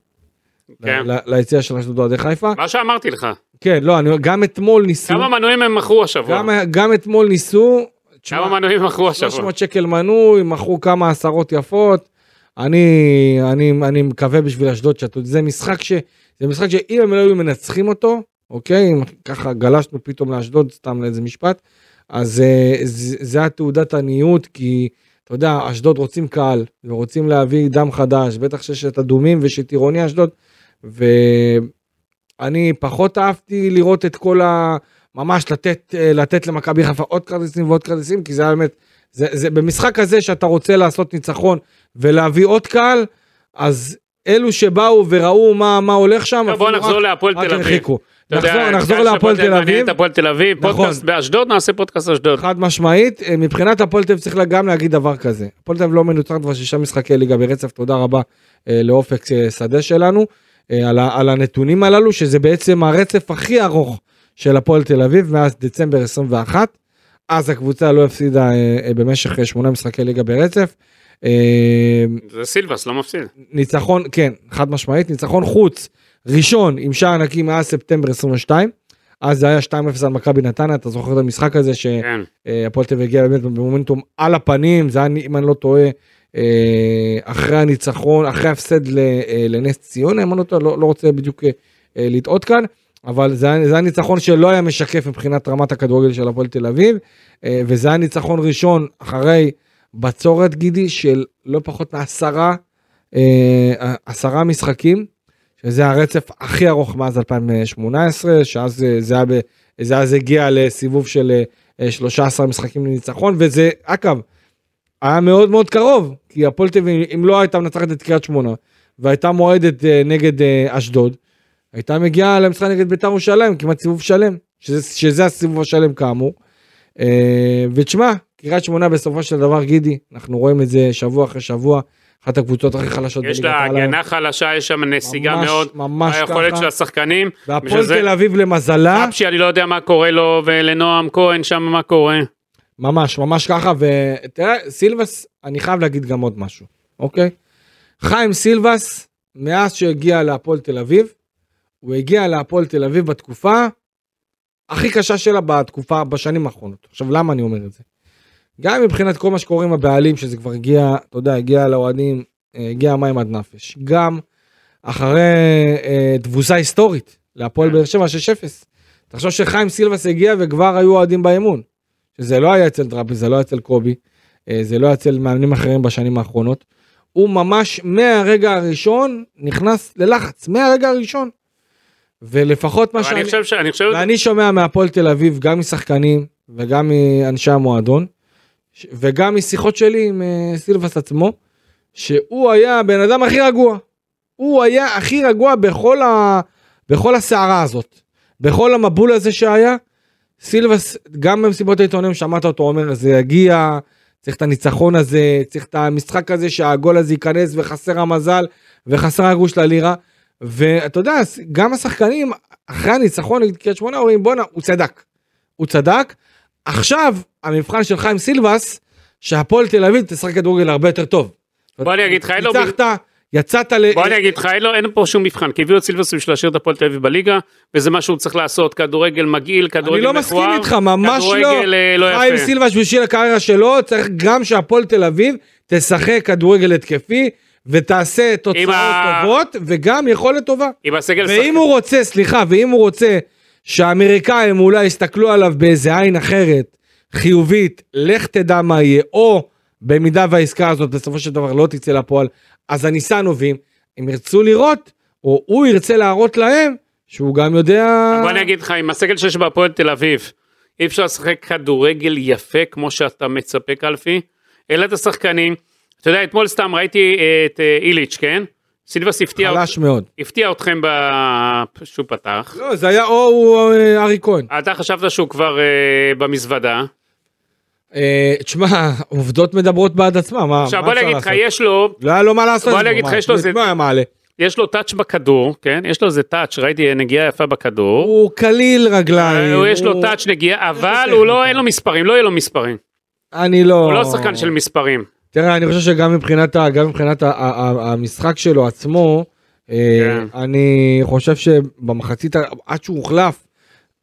C: כן.
B: ל- ל- ליציע של אשדוד אוהדי חיפה.
C: מה שאמרתי לך.
B: כן, לא, אני, גם אתמול ניסו,
C: כמה מנויים הם מכרו השבוע?
B: גם, גם אתמול ניסו, תשמע,
C: כמה מנויים מכרו השבוע?
B: 300 שקל מנוי, מכרו כמה עשרות יפות. אני, אני, אני מקווה בשביל אשדוד שאתה יודע, זה משחק ש... זה משחק שאם הם לא היו מנצחים אותו, אוקיי, אם ככה גלשנו פתאום לאשדוד, סתם לאיזה משפט, אז אה, זה, זה התעודת עניות, כי אתה יודע, אשדוד רוצים קהל, ורוצים להביא דם חדש, בטח שיש את הדומים ויש את עירוני אשדוד, ואני פחות אהבתי לראות את כל ה... ממש לתת, אה, לתת למכבי חיפה עוד כרטיסים ועוד כרטיסים, כי זה היה באמת, זה, זה במשחק הזה שאתה רוצה לעשות ניצחון ולהביא עוד קהל, אז אלו שבאו וראו מה, מה הולך שם,
C: טוב, לא, בוא
B: אפילו
C: נחזור
B: רק-
C: להפועל
B: רק
C: תל אביב.
B: הרחיקו.
C: אתה יודע,
B: נחזור, נחזור
C: קהל של
B: להפועל תל
C: מעניין
B: אביב,
C: את הפועל תל אביב,
B: נכון.
C: פודקאסט באשדוד, נעשה פודקאסט אשדוד.
B: חד משמעית, אה, מבחינת הפועל תל אביב צריך גם להגיד דבר כזה, הפועל תל אביב לא מנוצרת כבר שישה משחקי ליגה ברצף, תודה רבה אה, לאופק אה, שדה שלנו, אה, על, ה- על הנתונים הללו, שזה בעצם הרצף הכי ארוך של הפועל תל אביב מאז דצמבר 21, אז הקבוצה לא הפסידה אה, אה, במשך אה, שמונה משחקי ליגה ברצף. אה,
C: זה סילבס, לא מפסיד.
B: ניצחון, כן, חד משמעית, ניצחון חוץ ראשון עם שער נקי מאז ספטמבר 22. אז זה היה 2-0 על מכבי נתניה, אתה זוכר את המשחק הזה
C: כן.
B: שהפועל אה, תל אביב הגיע באמת במומנטום על הפנים, זה היה, אם אני לא טועה, אה, אחרי הניצחון, אחרי ההפסד ל- אה, לנס ציונה, אם אני לא טועה, לא לא רוצה בדיוק אה, אה, לטעות כאן, אבל זה היה זה היה ניצחון שלא היה משקף מבחינת רמת הכדורגל של הפועל תל אביב, אה, וזה היה ניצחון ראשון אחרי בצורת גידי של לא פחות מעשרה אה, עשרה משחקים, שזה הרצף הכי ארוך מאז 2018, שאז אה, זה היה, ב- זה אז הגיע לסיבוב של אה, 13 משחקים לניצחון, וזה, אגב, היה מאוד מאוד קרוב, כי הפועל תל אביב, אם לא הייתה מנצחת את קריית שמונה, והייתה מועדת אה, נגד אה, אשדוד, הייתה מגיעה למשחק נגד בית"ר ירושלים, כמעט סיבוב שלם, שזה, שזה הסיבוב השלם כאמור. אה, ותשמע, קריית שמונה בסופו של דבר, גידי, אנחנו רואים את זה שבוע אחרי שבוע, אחת הקבוצות הכי חלשות
C: יש
B: בליגת
C: לה
B: העל היום.
C: הגנה חלשה, יש שם נסיגה
B: ממש-
C: מאוד.
B: ממש
C: היכולת
B: ככה. אה?
C: של השחקנים.
B: והפועל
C: שזה-
B: תל אביב למזלה,
C: אפשי, אני לא יודע מה קורה לו, ולנועם כהן שם מה קורה.
B: ממש ממש ככה ותראה סילבס אני חייב להגיד גם עוד משהו אוקיי. חיים סילבס מאז שהגיע להפועל תל אביב הוא הגיע להפועל תל אביב בתקופה הכי קשה שלה בתקופה בשנים האחרונות עכשיו למה אני אומר את זה. גם מבחינת כל מה שקורה עם הבעלים שזה כבר הגיע אתה יודע הגיע לאוהדים אה, הגיע המים עד נפש גם אחרי אה, תבוסה היסטורית להפועל
C: כן.
B: באר שבע 6-0. תחשוב שחיים סילבס הגיע וכבר היו אוהדים באמון. שזה לא היה אצל דראפי, זה לא היה אצל קובי, אה, זה לא היה אצל מאמנים אחרים בשנים האחרונות. הוא ממש מהרגע הראשון נכנס ללחץ, מהרגע הראשון. ולפחות מה
C: אבל אני
B: שאני...
C: חושב ש... אני חושב...
B: ואני שומע מהפועל תל אביב גם משחקנים וגם מאנשי המועדון ש- וגם משיחות שלי עם אה, סילבס עצמו שהוא היה הבן אדם הכי רגוע. הוא היה הכי רגוע בכל, ה... בכל הסערה הזאת. בכל המבול הזה שהיה סילבס גם במסיבות העיתונאים שמעת אותו אומר זה יגיע צריך את הניצחון הזה צריך את המשחק הזה שהגול הזה ייכנס וחסר המזל וחסר הגוש ללירה. ואתה יודע גם השחקנים אחרי הניצחון נגד קריית שמונה אומרים בואנה הוא צדק. הוא צדק. עכשיו המבחן של חיים סילבס שהפועל תל אביב תשחק כדורגל הרבה יותר טוב.
C: בוא אני אגיד לך, אין לו-
B: ניצחת יצאת ל...
C: בוא אני אגיד לך, אין, לו- אין פה שום מבחן, כי הביאו את סילבס בשביל להשאיר את הפועל תל אביב בליגה, וזה מה שהוא צריך לעשות, כדורגל מגעיל, כדורגל
B: אני
C: מכוער,
B: לא מסכים איתך, ממש לא.
C: כדורגל אה, לא
B: חיים
C: יפה.
B: סילבס בשביל הקריירה שלו, צריך גם שהפועל תל אביב תשחק כדורגל התקפי, ותעשה תוצאות
C: ה-
B: טובות, וגם יכולת טובה.
C: עם הסגל
B: ואם הוא רוצה, סליחה, ואם הוא רוצה שהאמריקאים אולי יסתכלו עליו באיזה עין אחרת, חיובית, לך תדע מה יהיה, או במידה והעסקה הזאת בסופו של דבר לא תצא לפועל, אז הניסנובים, הם ירצו לראות, או הוא ירצה להראות להם, שהוא גם יודע...
C: בוא אני אגיד לך, עם הסגל שיש בהפועל תל אביב, אי אפשר לשחק כדורגל יפה כמו שאתה מצפה קלפי, אלא את השחקנים, אתה יודע, אתמול סתם ראיתי את אה, איליץ', כן? סילבס הפתיע, אות-
B: חלש מאוד.
C: הפתיע אתכם ב... שהוא פתח.
B: לא, זה היה או הוא או אה, ארי כהן.
C: אתה חשבת שהוא כבר אה, במזוודה.
B: אה, תשמע, עובדות מדברות בעד עצמם, מה
C: עכשיו
B: מה
C: בוא
B: אפשר
C: נגיד לך,
B: לעשות?
C: יש לו,
B: לא היה לו מה לעשות.
C: בוא
B: עם זה,
C: נגיד לך,
B: מה,
C: יש לו
B: את
C: זה-
B: מי הוא היה מעלה?
C: יש לו טאץ' בכדור, כן? יש לו איזה טאץ', ראיתי נגיעה יפה בכדור.
B: הוא קליל רגליים.
C: הוא- יש לו
B: הוא-
C: טאץ' נגיעה, אבל
B: טכניקה.
C: הוא לא, אין לו מספרים, לא יהיה לו מספרים.
B: אני לא...
C: הוא לא שחקן של מספרים.
B: תראה, אני חושב שגם מבחינת, ה- גם מבחינת ה- ה- ה- המשחק שלו עצמו, אה,
C: כן.
B: אני חושב שבמחצית, ה- עד שהוא הוחלף,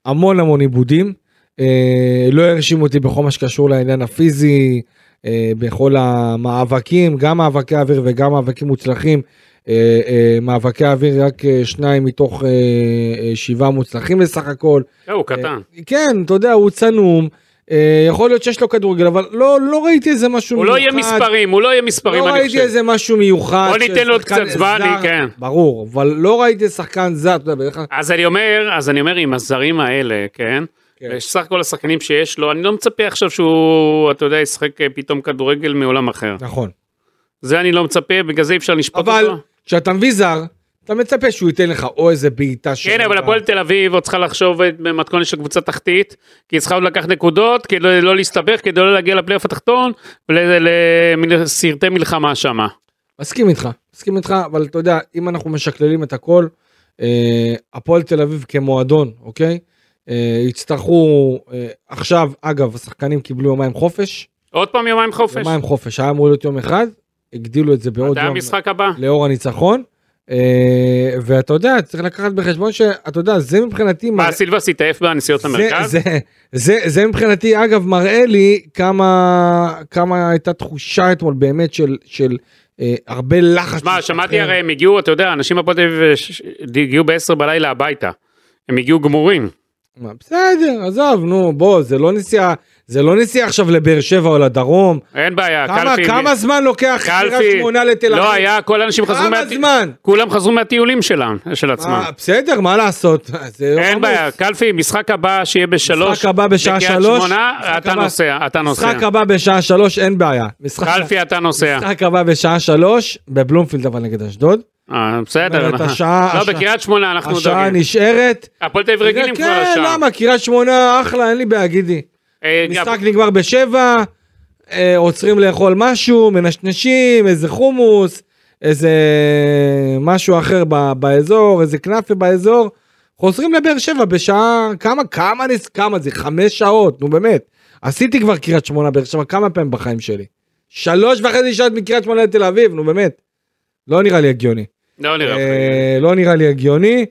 B: המון המון עיבודים. אה, לא הרשים אותי בכל מה שקשור לעניין הפיזי, אה, בכל המאבקים, גם מאבקי אוויר וגם מאבקים מוצלחים. אה, אה, מאבקי אוויר רק אה, שניים מתוך אה, אה, שבעה מוצלחים בסך הכל.
C: לא, הוא קטן.
B: אה, כן, אתה יודע, הוא צנום. אה, יכול להיות שיש לו כדורגל, אבל לא, לא ראיתי איזה משהו
C: הוא לא יהיה מספרים, הוא לא יהיה מספרים,
B: לא
C: אני
B: ראיתי
C: חושב.
B: איזה משהו מיוחד.
C: בוא
B: של
C: ניתן לו
B: שחקן
C: קצת זמן,
B: זר.
C: אני- כן.
B: ברור, אבל לא ראיתי שחקן זר, אתה יודע, בדרך כלל...
C: אז אני אומר, אז אני אומר עם הזרים האלה, כן?
B: כן.
C: סך הכל השחקנים שיש לו, אני לא מצפה עכשיו שהוא, אתה יודע, ישחק אה, פתאום כדורגל מעולם אחר.
B: נכון.
C: זה אני לא מצפה, בגלל זה אי אפשר לשפוט
B: אבל
C: אותו.
B: כשאתה מביא זר, אתה מצפה שהוא ייתן לך או איזה בעיטה של...
C: כן, אבל הפועל תל אביב עוד צריכה לחשוב את- במתכונת של קבוצה תחתית, כי היא צריכה עוד לקחת נקודות, כדי לא להסתבך, כדי לא להגיע לפלייאוף התחתון, ולסרטי מלחמה שמה.
B: מסכים איתך, מסכים איתך, אבל אתה יודע, אם אנחנו משקללים את הכל, אה, הפועל תל אביב כמועדון, אוקיי? אה, יצטרכו אה, עכשיו, אגב, השחקנים קיבלו יומיים חופש.
C: עוד פעם יומיים חופש.
B: יומיים חופש, היה אמור להיות יום אחד, הגדילו את זה בעוד
C: זה
B: יום.
C: המשחק הבא.
B: לאור הניצחון. אה, ואתה יודע, צריך לקחת בחשבון שאתה יודע, זה מבחינתי... מראה-
C: מה, סילבס התעייף בנסיעות למרכז?
B: זה, זה, זה, זה מבחינתי, אגב, מראה לי כמה, כמה הייתה תחושה אתמול באמת של, של אה, הרבה לחץ.
C: שמע, שמעתי
B: משתחרר.
C: הרי הם הגיעו, אתה יודע, אנשים מהפועל תל אביב ש- הגיעו ב-10 בלילה הביתה. הם הגיעו גמורים.
B: מה, בסדר, עזוב, נו, בוא, זה לא נסיעה, זה לא נסיעה עכשיו לבאר שבע או לדרום.
C: אין בעיה,
B: כמה,
C: קלפי...
B: כמה זמן לוקח קריית
C: קלפי...
B: שמונה לתל אביב?
C: לא היה, כל האנשים חזרו
B: כמה
C: מהטי-
B: זמן? אה,
C: כולם חזרו מהטיולים שלהם, של עצמם.
B: מה, בסדר, מה לעשות? זה
C: אין
B: עמוס.
C: בעיה, קלפי, משחק הבא שיהיה בשלוש.
B: לא משחק הבא בשעה
C: בקריית
B: שלוש.
C: שמונה,
B: משחק
C: אתה
B: הבא-
C: נוסע, אתה נוסע.
B: משחק הבא בשעה שלוש, אין בעיה. משחק-
C: קלפי, אתה נוסע.
B: משחק הבא בשעה שלוש, בבלומפילד אבל נגד אשדוד.
C: אה, בסדר.
B: אומרת,
C: אנחנו-
B: השעה-
C: לא,
B: השעה-
C: בקריית שמונה אנחנו
B: השעה
C: דואגים.
B: נשארת.
C: הפועל תל אביב רגילים כבר
B: כן,
C: לשעה.
B: למה? קריית שמונה אחלה, אין לי בעיה, גידי.
C: אה, גם-
B: משחק נגמר בשבע, אה, עוצרים לאכול משהו, מנשנשים, איזה חומוס, איזה משהו אחר ב- באזור, איזה כנאפה באזור. חוזרים לבאר שבע בשעה, כמה, כמה, נס, כמה זה? חמש שעות, נו באמת. עשיתי כבר קריית שמונה באר שבע כמה פעמים בחיים שלי. שלוש וחצי שעות מקריית שמונה לתל אביב, נו באמת. לא נראה לי הגיוני.
C: לא נראה.
B: אה, לא נראה לי הגיוני,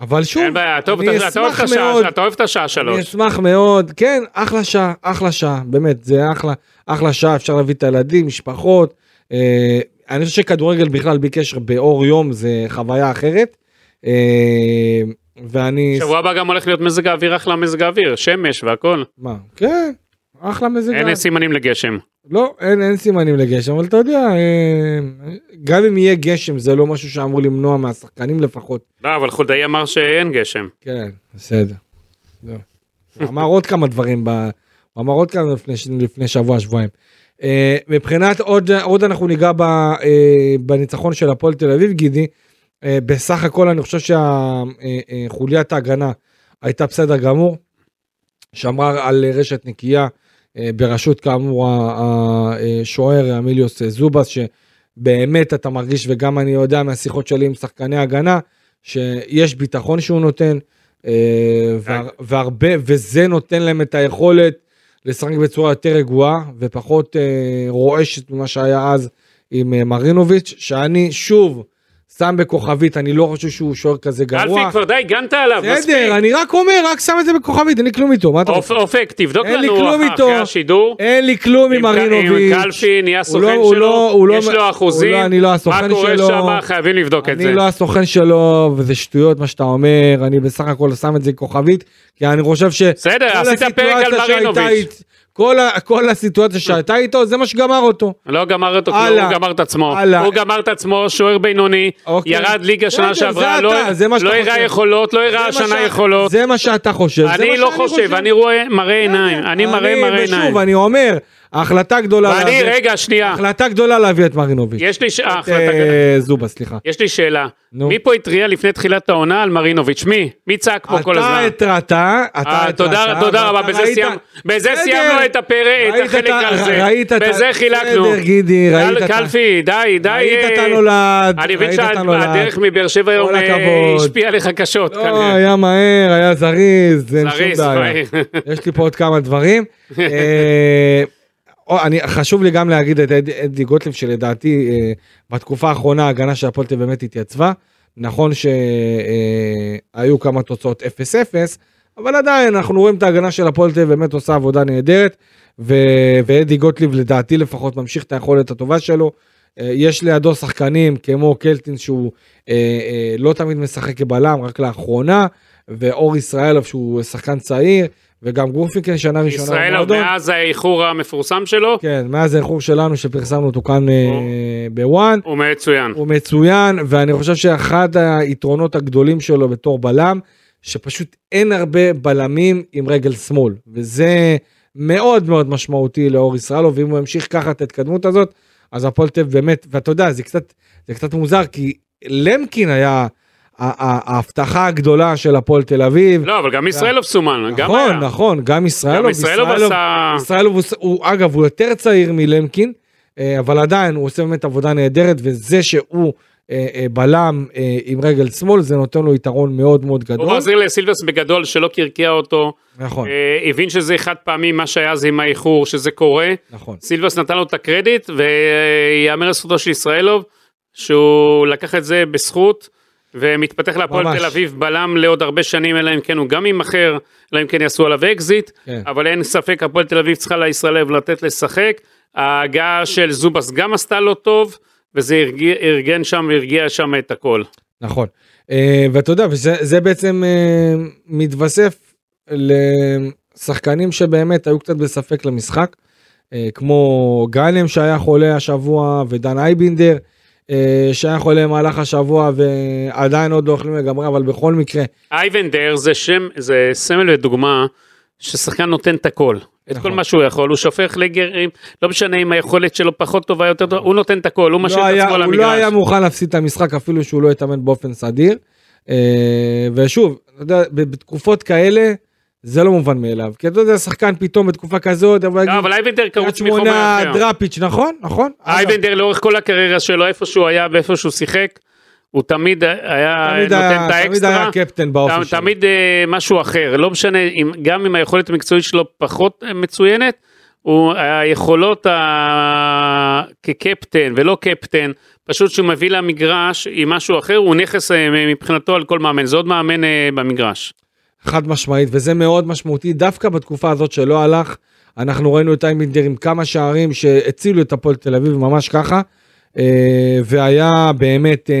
B: אבל שוב,
C: אין בעיה, טוב,
B: אני
C: אתה- אתה אוהב את
B: אשמח
C: השעה,
B: מאוד,
C: אתה אוהב את השעה
B: אני
C: שלוש.
B: אשמח מאוד, כן, אחלה שעה, אחלה שעה, באמת, זה אחלה, אחלה שעה, אפשר להביא את הילדים, משפחות, אה, אני חושב שכדורגל בכלל בלי קשר באור יום זה חוויה אחרת, אה, ואני,
C: שבוע הבא גם הולך להיות מזג האוויר, אחלה מזג האוויר, שמש והכל.
B: מה, כן, אחלה מזג,
C: אין
B: האוויר.
C: סימנים לגשם.
B: לא, אין, אין סימנים לגשם, אבל אתה יודע, אה, גם אם יהיה גשם זה לא משהו שאמור למנוע מהשחקנים לפחות.
C: לא, אבל חולדאי אמר שאין גשם.
B: כן, בסדר. זהו. הוא אמר עוד כמה דברים, ב... הוא אמר עוד כמה לפני, ש- לפני שבוע, שבועיים. Uh, מבחינת עוד, עוד אנחנו ניגע ב, uh, בניצחון של הפועל תל אביב, גידי. Uh, בסך הכל אני חושב שחוליית ההגנה הייתה בסדר גמור. שמרה על רשת נקייה uh, בראשות כאמור ה- ה- השוער אמיליוס זובס, שבאמת אתה מרגיש, וגם אני יודע מהשיחות שלי עם שחקני הגנה, שיש ביטחון שהוא נותן, אה, והר, והרבה, וזה נותן להם את היכולת לשחק בצורה יותר רגועה ופחות אה, רועשת ממה שהיה אז עם אה, מרינוביץ', שאני שוב שם בכוכבית, אני לא חושב שהוא שוער כזה
C: אלפי
B: גרוע.
C: כבר די, גנת עליו, מספיק.
B: בסדר, אני רק אומר, רק שם את זה בכוכבית, אין לי כלום איתו, מה אתה
C: אופ-
B: רוצה?
C: אופק, תבדוק
B: אין לי
C: לנו
B: כלום
C: אחר-
B: איתו.
C: אחרי השידור.
B: אין לי כלום עם
C: אם
B: מרינוביץ'.
C: קלפי נהיה
B: הוא לא-
C: סוכן
B: הוא לא- הוא לא-
C: שלו, יש לו אחוזים,
B: הוא לא- אני לא הסוכן
C: מה קורה
B: שלו.
C: שם, חייבים לבדוק את זה.
B: אני לא הסוכן שלו, וזה שטויות מה שאתה אומר, אני בסך הכל שם את זה כוכבית, כי אני חושב ש...
C: בסדר,
B: כל
C: עשית פרק על
B: הסיטואציה שהייתה
C: מרינוביץ'.
B: אית- כל ה- כל הסיטואציה שהייתה איתו, זה מה שגמר אותו.
C: לא גמר אותו, כלום,
B: הלאה.
C: הוא גמר את עצמו.
B: הלאה.
C: הוא גמר את עצמו, שוער בינוני,
B: אוקיי.
C: ירד ליגה שנה
B: בסדר,
C: שעברה,
B: זה
C: לא-
B: אתה, זה מה שאתה
C: לא הראה
B: חושב.
C: יכולות, לא הראה
B: זה מה
C: השנה
B: שה-
C: יכולות.
B: זה מה שאתה חושב. זה מה
C: אני לא
B: שאני
C: חושב, אני רואה מראה עיניים, אני מראה מראה עיניים.
B: ושוב, אני לא אומר, ההחלטה גדולה
C: ואני, רגע, שנייה,
B: החלטה גדולה להביא את מרינוביץ'.
C: יש לי ש- אה,
B: את,
C: החלטה
B: אה,
C: גדולה.
B: זובה, סליחה.
C: יש לי שאלה,
B: נו.
C: מי פה התריע לפני תחילת העונה על מרינוביץ'? מי? מי צעק פה כל הזמן?
B: אתה התרעת, אתה
C: אה,
B: התרעת.
C: תודה, תודה רבה,
B: ואתה
C: בזה
B: ראית-
C: סיימנו- בזה
B: בסדר.
C: סיימנו את הפרק, את
B: ראית
C: החלק
B: ה-
C: הזה.
B: ראית את ה-
C: בזה חילקנו.
B: בסדר, גידי, ראית
C: קל-
B: את ה-
C: קלפי, די, די.
B: ראית את
C: אה,
B: הנולד,
C: אני מבין
B: ראית את הנולד.
C: שהדרך מבאר שבע היום
B: כל
C: אה,
B: הכבוד.
C: השפיעה עליך קשות.
B: לא,
C: כנראה.
B: היה מהר, היה זריז, אין שום
C: זריז,
B: בעיה.
C: מהר.
B: יש לי פה עוד כמה דברים. אה, או, אני, חשוב לי גם להגיד את אדי- אדי גוטליב שלדעתי אה, בתקופה האחרונה ההגנה של הפועל תל אביב באמת התייצבה. נכון שהיו כמה תוצאות 0-0, אבל עדיין אנחנו רואים את ההגנה של הפועל תל אביב באמת עושה עבודה נהדרת. ו- ואדי גוטליב לדעתי לפחות ממשיך את היכולת הטובה שלו. אה, יש לידו שחקנים כמו קלטין שהוא אה, אה, לא תמיד משחק כבלם רק לאחרונה ואור ישראלוב שהוא שחקן צעיר וגם גרופיקן שנה ראשונה.
C: ישראל עוד
B: במועדון.
C: מאז האיחור המפורסם שלו,
B: כן, מאז האיחור שלנו שפרסמנו אותו כאן אה, בוואן,
C: הוא מצוין.
B: הוא מצוין, ואני חושב שאחד היתרונות הגדולים שלו בתור בלם, שפשוט אין הרבה בלמים עם רגל שמאל, וזה מאוד מאוד משמעותי לאור ישראלוב, ואם הוא ימשיך ככה את ההתקדמות הזאת, אז הפועל תל אביב באמת, ואתה יודע, זה קצת, זה קצת מוזר, כי למקין היה ה- ה- ההבטחה הגדולה של הפועל תל אביב.
C: לא, אבל גם ישראלוב סומן, גם היה.
B: כן. נכון, נכון, גם ישראלוב,
C: גם ישראלוב עשה...
B: ישראלוב הוא, הוא אגב הוא יותר צעיר מלמקין אה, אבל עדיין הוא עושה באמת עבודה נהדרת וזה שהוא אה, אה, בלם אה, עם רגל שמאל זה נותן לו יתרון מאוד מאוד
C: הוא
B: גדול.
C: מחזיר לסילבס בגדול שלא קרקע אותו,
B: נכון
C: אה, הבין שזה חד פעמי מה שהיה אז עם האיחור, שזה קורה.
B: נכון.
C: סילבס נתן לו את הקרדיט, ויאמר לזכותו של ישראלוב, שהוא לקח את זה בזכות, ומתפתח להפועל
B: ממש.
C: תל אביב בלם לעוד הרבה שנים, אלא אם כן הוא גם יימכר, אלא אם כן יעשו עליו אקזיט,
B: כן.
C: אבל אין ספק, הפועל תל אביב צריכה לישראלוב לתת לשחק. ההגעה של זובס גם עשתה לו טוב, וזה הרגיע- ארגן שם והרגיע שם את הכל.
B: נכון. אה, ואתה יודע, וזה זה בעצם אה, מתווסף לשחקנים שבאמת היו קצת בספק למשחק, אה, כמו גאנם שהיה חולה השבוע, ודן אייבינדר אה, שהיה חולה במהלך השבוע, ועדיין עוד לא אוכלים לגמרי, אבל בכל מקרה,
C: אייבנדר זה שם, זה סמל ודוגמה ששחקן נותן את הכל. את
B: נכון.
C: כל מה שהוא יכול, הוא שופך לגרים, לא משנה אם היכולת שלו פחות טובה, יותר טובה, הוא נותן את הכל, הוא משאיר
B: לא
C: את
B: היה-
C: עצמו על
B: הוא לא היה
C: המגרש.
B: מוכן להפסיד את המשחק אפילו שהוא לא התאמן באופן סדיר. אה, ושוב, אתה יודע, ב- בתקופות כאלה זה לא מובן מאליו. כי אתה יודע, שחקן פתאום בתקופה כזאת, אבל...
C: לא, אבל אייבנדר
B: קריית
C: קרוץ מחומר
B: שמונה,
C: אחר.
B: דראפיץ', נכון? נכון.
C: אייבנדר לאורך כל הקריירה שלו, איפה שהוא היה ואיפה שהוא שיחק, הוא תמיד היה
B: תמיד
C: נותן
B: היה-
C: את
B: תמיד היה
C: האקסטרה.
B: קפטן באופי
C: תמיד,
B: שלו.
C: תמיד אה, משהו אחר, לא משנה, אם, גם אם היכולת המקצועית שלו פחות אה, מצוינת, הוא, היכולות ה... כקפטן ולא קפטן, פשוט שהוא מביא למגרש עם משהו אחר, הוא נכס אה, מבחינתו על כל מאמן, זה עוד מאמן אה, במגרש.
B: חד משמעית, וזה מאוד משמעותי, דווקא בתקופה הזאת שלא הלך, אנחנו ראינו את איימבינדר עם כמה שערים שהצילו את הפועל תל אביב ממש ככה, אה, והיה באמת אה,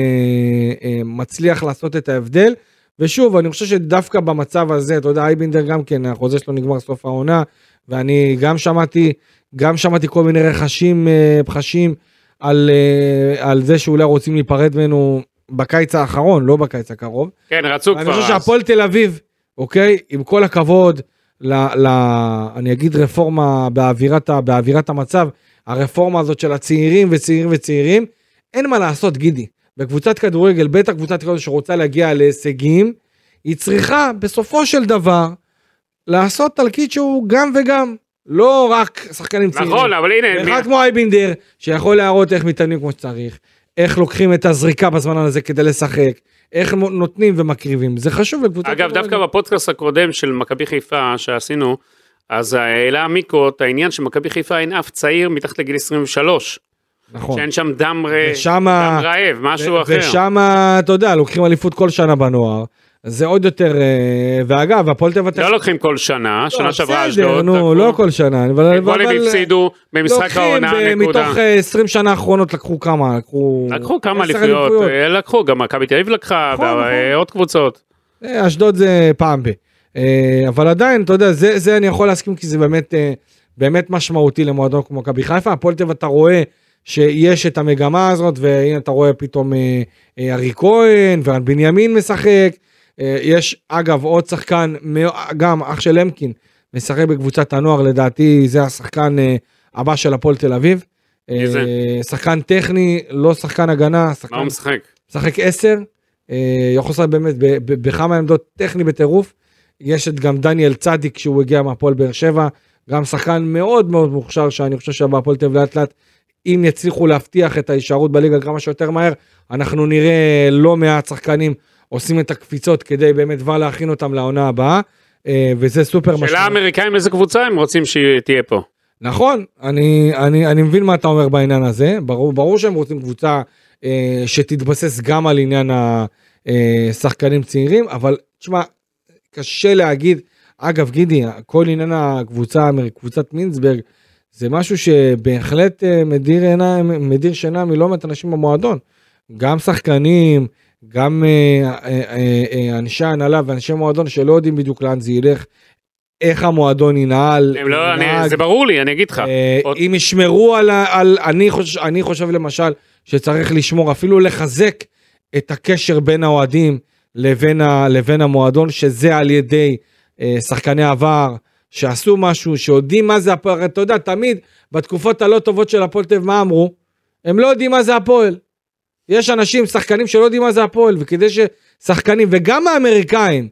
B: אה, מצליח לעשות את ההבדל. ושוב, אני חושב שדווקא במצב הזה, אתה יודע, אייבינדר גם כן, החוזה שלו נגמר סוף העונה, ואני גם שמעתי, גם שמעתי כל מיני רכשים, אה, בחשים על, אה, על זה שאולי רוצים להיפרד ממנו בקיץ האחרון, לא בקיץ הקרוב.
C: כן, רצו כבר
B: אני חושב
C: אז.
B: שהפועל תל אביב, אוקיי, עם כל הכבוד, ל, ל, אני אגיד רפורמה באווירת, ה- באווירת המצב, הרפורמה הזאת של הצעירים וצעירים וצעירים, אין מה לעשות, גידי. בקבוצת כדורגל, בטח קבוצת כדורגל שרוצה להגיע להישגים, היא צריכה בסופו של דבר לעשות תלקיט שהוא גם וגם, לא רק שחקנים צעירים.
C: נכון, אבל הנה,
B: אחד כמו אייבינדר, שיכול להראות איך מתאמנים כמו שצריך, איך לוקחים את הזריקה בזמן הזה כדי לשחק, איך מו- נותנים ומקריבים, זה חשוב לקבוצה.
C: אגב,
B: כדורגל.
C: דווקא בפודקאסט הקודם של מכבי חיפה שעשינו, אה, אז העלה מיקו את העניין שמכבי חיפה אין אף צעיר מתחת לגיל 23.
B: נכון.
C: שאין שם דם, ר...
B: ושמה-
C: דם רעב, משהו
B: ו-
C: אחר.
B: ושם, אתה יודע, לוקחים אליפות כל שנה בנוער. זה עוד יותר, אה, ואגב, הפועל תל אביב...
C: לא לוקחים כל שנה, שנה שעברה אשדוד.
B: בסדר, נו,
C: לקחו.
B: לא כל שנה. אבל-
C: גולים
B: אבל- אה,
C: הפסידו במשחק העונה,
B: לוקחים, ב-
C: נקודה.
B: מתוך אה, 20 שנה האחרונות לקחו כמה? לקחו...
C: לקחו כמה
B: עשר
C: אליפויות, אה, לקחו, גם מכבי תל אביב לקחה,
B: נכון,
C: וה-
B: נכון.
C: אה, עוד קבוצות.
B: אה, אשדוד זה פעם ב... אה, אבל עדיין, אתה יודע, זה, זה אני יכול להסכים, כי זה באמת, אה, באמת משמעותי למועדון כמו מכבי חיפה. הפועל תל אביב אתה רואה שיש את המגמה הזאת, והנה אתה רואה פתאום אה, אה, ארי כהן, ורן בנימין משחק. אה, יש, אגב, עוד שחקן, מאו- גם אח של למקין, משחק בקבוצת הנוער, לדעתי זה השחקן אה, הבא של הפועל תל אביב.
C: מי זה?
B: אה, שחקן טכני, לא שחקן הגנה,
C: מה
B: שחקן
C: הוא משחק?
B: משחק 10, אה, יכול לשחק באמת ב- ב- בכמה עמדות טכני בטירוף. יש את גם דניאל צדיק שהוא הגיע מהפועל באר שבע, גם שחקן מאוד מאוד מוכשר שאני חושב שבהפועל תל אביב לאט לאט, אם יצליחו להבטיח את ההישארות בליגה כמה שיותר מהר, אנחנו נראה לא מעט שחקנים עושים את הקפיצות כדי באמת כבר להכין אותם לעונה הבאה, אה, וזה סופר
C: שאלה האמריקאים איזה קבוצה הם רוצים שתהיה פה.
B: נכון, אני, אני, אני מבין מה אתה אומר בעניין הזה, ברור, ברור שהם רוצים קבוצה אה, שתתבסס גם על עניין השחקנים צעירים, אבל תשמע, קשה להגיד, אגב גידי, כל עניין הקבוצה, האמר- קבוצת מינסברג, זה משהו שבהחלט אה, מדיר, עיני, מדיר שינה מלא מעט אנשים במועדון, גם שחקנים, גם אה, אה, אה, אה, אנשי הנהלה ואנשי מועדון שלא יודעים בדיוק לאן זה ילך. איך המועדון ינהל,
C: הם לא, אני-
B: ינהג.
C: זה ברור לי, אני אגיד לך.
B: אה,
C: עוד-
B: אם ישמרו על, ה- על אני, חושב, אני חושב למשל שצריך לשמור אפילו לחזק את הקשר בין האוהדים לבין, ה, לבין המועדון שזה על ידי אה, שחקני עבר שעשו משהו שיודעים מה זה הפועל אתה יודע תמיד בתקופות הלא טובות של הפועל תל אביב מה אמרו הם לא יודעים מה זה הפועל. יש אנשים שחקנים שלא יודעים מה זה הפועל וכדי ששחקנים וגם האמריקאים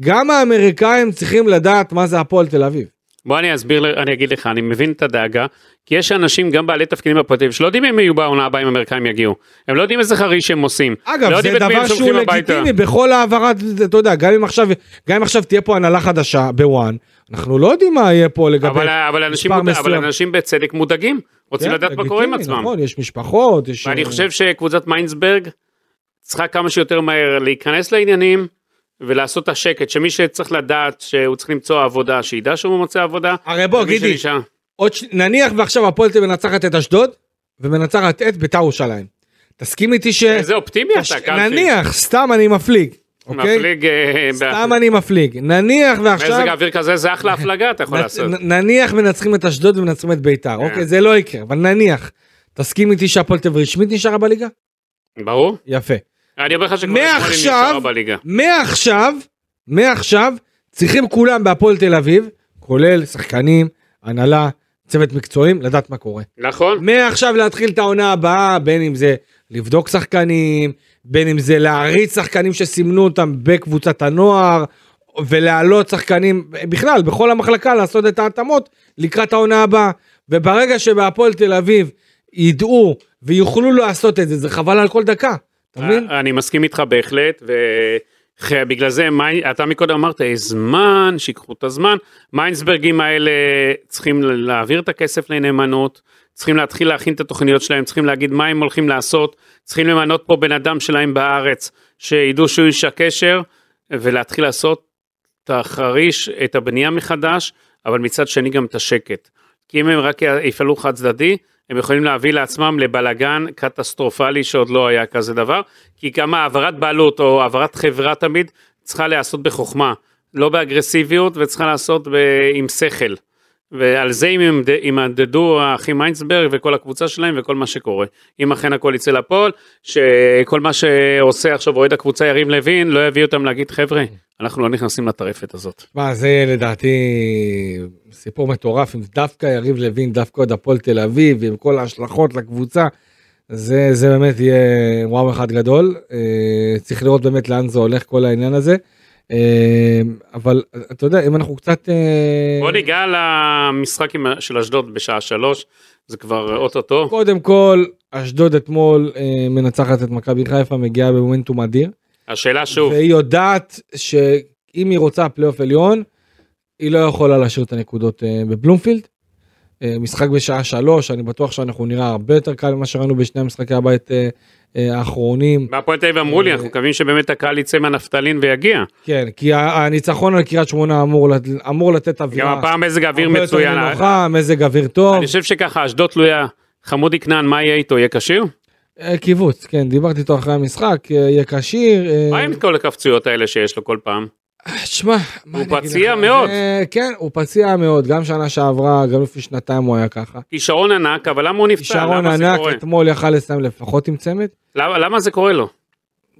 B: גם האמריקאים צריכים לדעת מה זה הפועל תל אביב.
C: בוא אני אסביר, ל- אני אגיד לך, אני מבין את הדאגה, כי יש אנשים, גם בעלי תפקידים בפרטים, שלא יודעים אם יהיו בעונה הבאה אם האמריקאים יגיעו. הם לא יודעים איזה חריש הם עושים. לא
B: אגב,
C: יודעים
B: זה
C: את מי הם
B: דבר שהוא
C: שולחים הביתה.
B: לגיטימי בכל העברת, אתה יודע, גם אם עכשיו, גם אם עכשיו תהיה פה הנהלה חדשה בוואן, אנחנו לא יודעים מה יהיה פה לגבי... כן,
C: אבל, אבל, אנשים,
B: מספר
C: מוד- אבל
B: מסוים.
C: אנשים בצדק מודאגים, רוצים
B: כן,
C: לדעת מה
B: לגיטימי,
C: קורה עם עצמם.
B: נכון, יש משפחות, יש... אה,
C: ואני חושב שקבוצת מיינסברג צריכה כמה שיותר מהר להיכנס לעניינים ולעשות את השקט, שמי שצריך לדעת שהוא צריך למצוא עבודה, שידע שהוא מוצא עבודה.
B: הרי בוא,
C: ומי
B: גידי,
C: שנשאר-
B: עוד ש... נניח ועכשיו הפועל תל אביב מנצחת את אשדוד, ומנצחת את ביתר ירושלים. תסכים איתי ש...
C: איזה אופטימי
B: אה, תש-
C: אתה, קלפי.
B: נניח, סתם אני מפליג, אוקיי?
C: מפליג, אה,
B: סתם אני מפליג. נניח ועכשיו...
C: מזג אוויר כזה זה אחלה הפלגה אתה יכול
B: נ-
C: לעשות.
B: נ- נניח מנצחים את אשדוד ומנצחים את ביתר, אוקיי? זה לא יקרה, אבל נניח. תסכים איתי שהפועל תל אביב רשמית נשארה בליגה?
C: ברור.
B: יפה.
C: אני אומר לך שכבר אתמול היא
B: מעכשיו-
C: נשארה בליגה.
B: מעכשיו, מעכשיו, צריכים כולם בהפועל תל אביב, כולל שחקנים, הנהלה, צוות מקצועים, לדעת מה קורה.
C: נכון.
B: מעכשיו להתחיל את העונה הבאה, בין אם זה לבדוק שחקנים, בין אם זה להריץ שחקנים שסימנו אותם בקבוצת הנוער, ולהעלות שחקנים, בכלל, בכל המחלקה לעשות את ההתאמות לקראת העונה הבאה. וברגע שבהפועל תל אביב ידעו ויוכלו לעשות את זה, זה חבל על כל דקה, אתה מבין?
C: אה, אני מסכים איתך בהחלט, ובגלל זה מי- אתה מקודם אמרת, "יש זמן, שיקחו את הזמן. מיינסברגים האלה צריכים ל- להעביר את הכסף לנאמנות, צריכים להתחיל להכין את התוכניות שלהם, צריכים להגיד מה הם הולכים לעשות, צריכים למנות פה בן אדם שלהם בארץ, שידעו שהוא איש הקשר, ולהתחיל לעשות את החריש, את הבנייה מחדש, אבל מצד שני גם את השקט. כי אם הם רק יפעלו חד צדדי, הם יכולים להביא לעצמם לבלגן קטסטרופלי שעוד לא היה כזה דבר, כי גם העברת בעלות או העברת חברה תמיד צריכה להיעשות בחוכמה, לא באגרסיביות וצריכה להיעשות ב... עם שכל. ועל זה אם ימד- ימדדו האחים מיינסברג וכל הקבוצה שלהם וכל מה שקורה. אם אכן הכל יצא לפועל, שכל מה שעושה עכשיו אוהד הקבוצה יריב לוין, לא יביא אותם להגיד חבר'ה, אנחנו לא נכנסים לטרפת הזאת.
B: מה זה לדעתי סיפור מטורף עם דווקא יריב לוין דווקא עוד הפועל תל אביב עם כל ההשלכות לקבוצה. זה זה באמת יהיה וואו אחד גדול אה, צריך לראות באמת לאן זה הולך כל העניין הזה. אה, אבל אתה יודע אם אנחנו קצת אה,
C: בוא ניגע למשחק עם- של אשדוד בשעה שלוש, זה כבר אוטוטו.
B: קודם כל אשדוד אתמול אה, מנצחת את מכבי חיפה מגיעה במומנטום אדיר.
C: השאלה שוב,
B: והיא יודעת שאם היא רוצה פלייאוף עליון, היא לא יכולה להשאיר את הנקודות אה, בבלומפילד. אה, משחק בשעה שלוש, אני בטוח שאנחנו נראה הרבה יותר קל ממה שראינו בשני המשחקי הבית אה, אה, האחרונים.
C: בהפועל תל אביב אמרו לי, אנחנו מקווים שבאמת הקהל יצא מהנפתלין ויגיע.
B: כן, כי ה- הניצחון על קריית שמונה אמור, לת- אמור לתת
C: גם
B: אווירה.
C: הפעם מזג האוויר
B: הרבה יותר
C: מצוין. אה?
B: נינוחה, מזג אוויר טוב.
C: אני חושב שככה, אשדוד תלויה. חמודי כנען, מה יהיה איתו? יהיה כשיר?
B: אה, קיבוץ, כן, דיברתי איתו אחרי המשחק, אה, יהיה כשיר. אה,
C: מה עם כל הקפצויות האלה שיש לו כל פעם?
B: שמע, מה
C: הוא
B: אני אגיד
C: פציע
B: לך?
C: מאוד.
B: אה, כן, הוא פציע מאוד, גם שנה שעברה, גם לפני שנתיים הוא היה ככה.
C: כישרון ענק, אבל למה הוא נפצע?
B: כישרון
C: למה זה
B: ענק,
C: קורה?
B: אתמול יכל לסיים לפחות עם צמד.
C: למה למה זה קורה לו? לא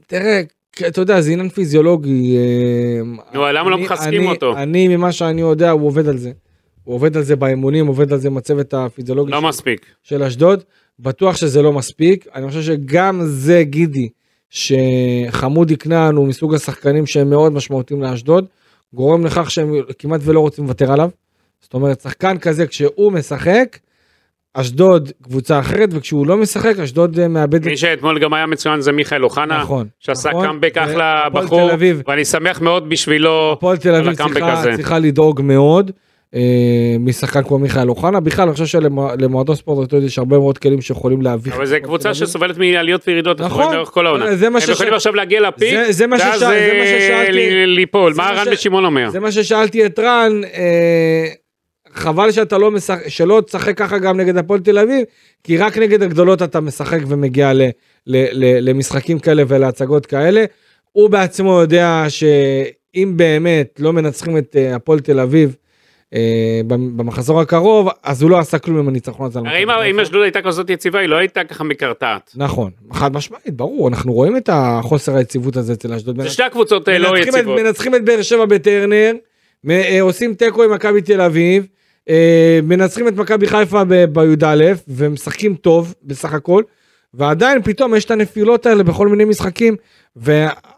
B: תראה, כ- אתה יודע, זה עניין פיזיולוגי. אה,
C: נו, למה לא
B: אני-
C: מחזקים
B: אני-
C: אותו?
B: אני, ממה שאני יודע, הוא עובד על זה. הוא עובד על זה באימונים, עובד על זה עם הצוות הפיזיולוגי
C: לא
B: של-
C: מספיק.
B: של אשדוד. בטוח שזה לא מספיק. אני חושב שגם זה גידי, שחמודי כנען הוא מסוג השחקנים שהם מאוד משמעותיים לאשדוד, גורם לכך שהם כמעט ולא רוצים לוותר עליו. זאת אומרת, שחקן כזה, כשהוא משחק, אשדוד קבוצה אחרת, וכשהוא לא משחק, אשדוד אה, מאבד...
C: מי שאתמול גם היה מצוין זה מיכאל אוחנה,
B: נכון.
C: שעשה
B: נכון.
C: קאמבק אחלה
B: והפועל
C: בחור,
B: תל אביב-
C: ואני שמח מאוד בשבילו.
B: הפועל תל אביב
C: הקאמבק
B: צריכה,
C: הזה.
B: צריכה לדאוג מאוד אה, משחקן כמו מיכאל אוחנה. בכלל, אני חושב שלמועדון ספורט אשדוד יש הרבה מאוד כלים שיכולים להביך.
C: אבל
B: את
C: זו
B: הפועל תל
C: קבוצה
B: אביב.
C: שסובלת מעליות וירידות, אנחנו
B: נכון.
C: רואים לאורך כל העונה.
B: זה מה
C: הם
B: שש-
C: יכולים עכשיו להגיע לפיק,
B: זה- זה מה
C: ואז
B: ששאל- זה מה
C: אה,
B: ששאלתי.
C: ל- ליפול.
B: זה
C: מה
B: מה
C: רן
B: ש-
C: בן שמעון אומר?
B: זה מה ששאלתי את רן, אה, חבל שאתה לא משחק, שלא תשחק ככה גם נגד הפועל תל אביב, כי רק נגד הגדולות אתה משחק ומגיע ל, ל, ל, למשחקים כאלה ולהצגות כאלה. הוא בעצמו יודע שאם באמת לא מנצחים את אה, הפועל תל אביב אה, במ- במחזור הקרוב, אז הוא לא עשה כלום עם הניצחון הזה. על
C: הרי אם-
B: מכבי
C: אם
B: חיפה.
C: אשדוד הייתה כזאת יציבה, היא לא הייתה ככה מקרטעת.
B: נכון, חד משמעית, ברור, אנחנו רואים את החוסר היציבות הזה אצל אשדוד.
C: זה שתי הקבוצות אה, לא
B: מנצחים את-
C: יציבות.
B: מנצחים את באר שבע בטרנר, מ- אה, עושים תיקו עם מכבי תל אביב, אה, מנצחים את מכבי חיפה ב- בי"א, ומשחקים טוב בסך הכל, ועדיין פתאום יש את הנפילות האלה בכל מיני משחקים,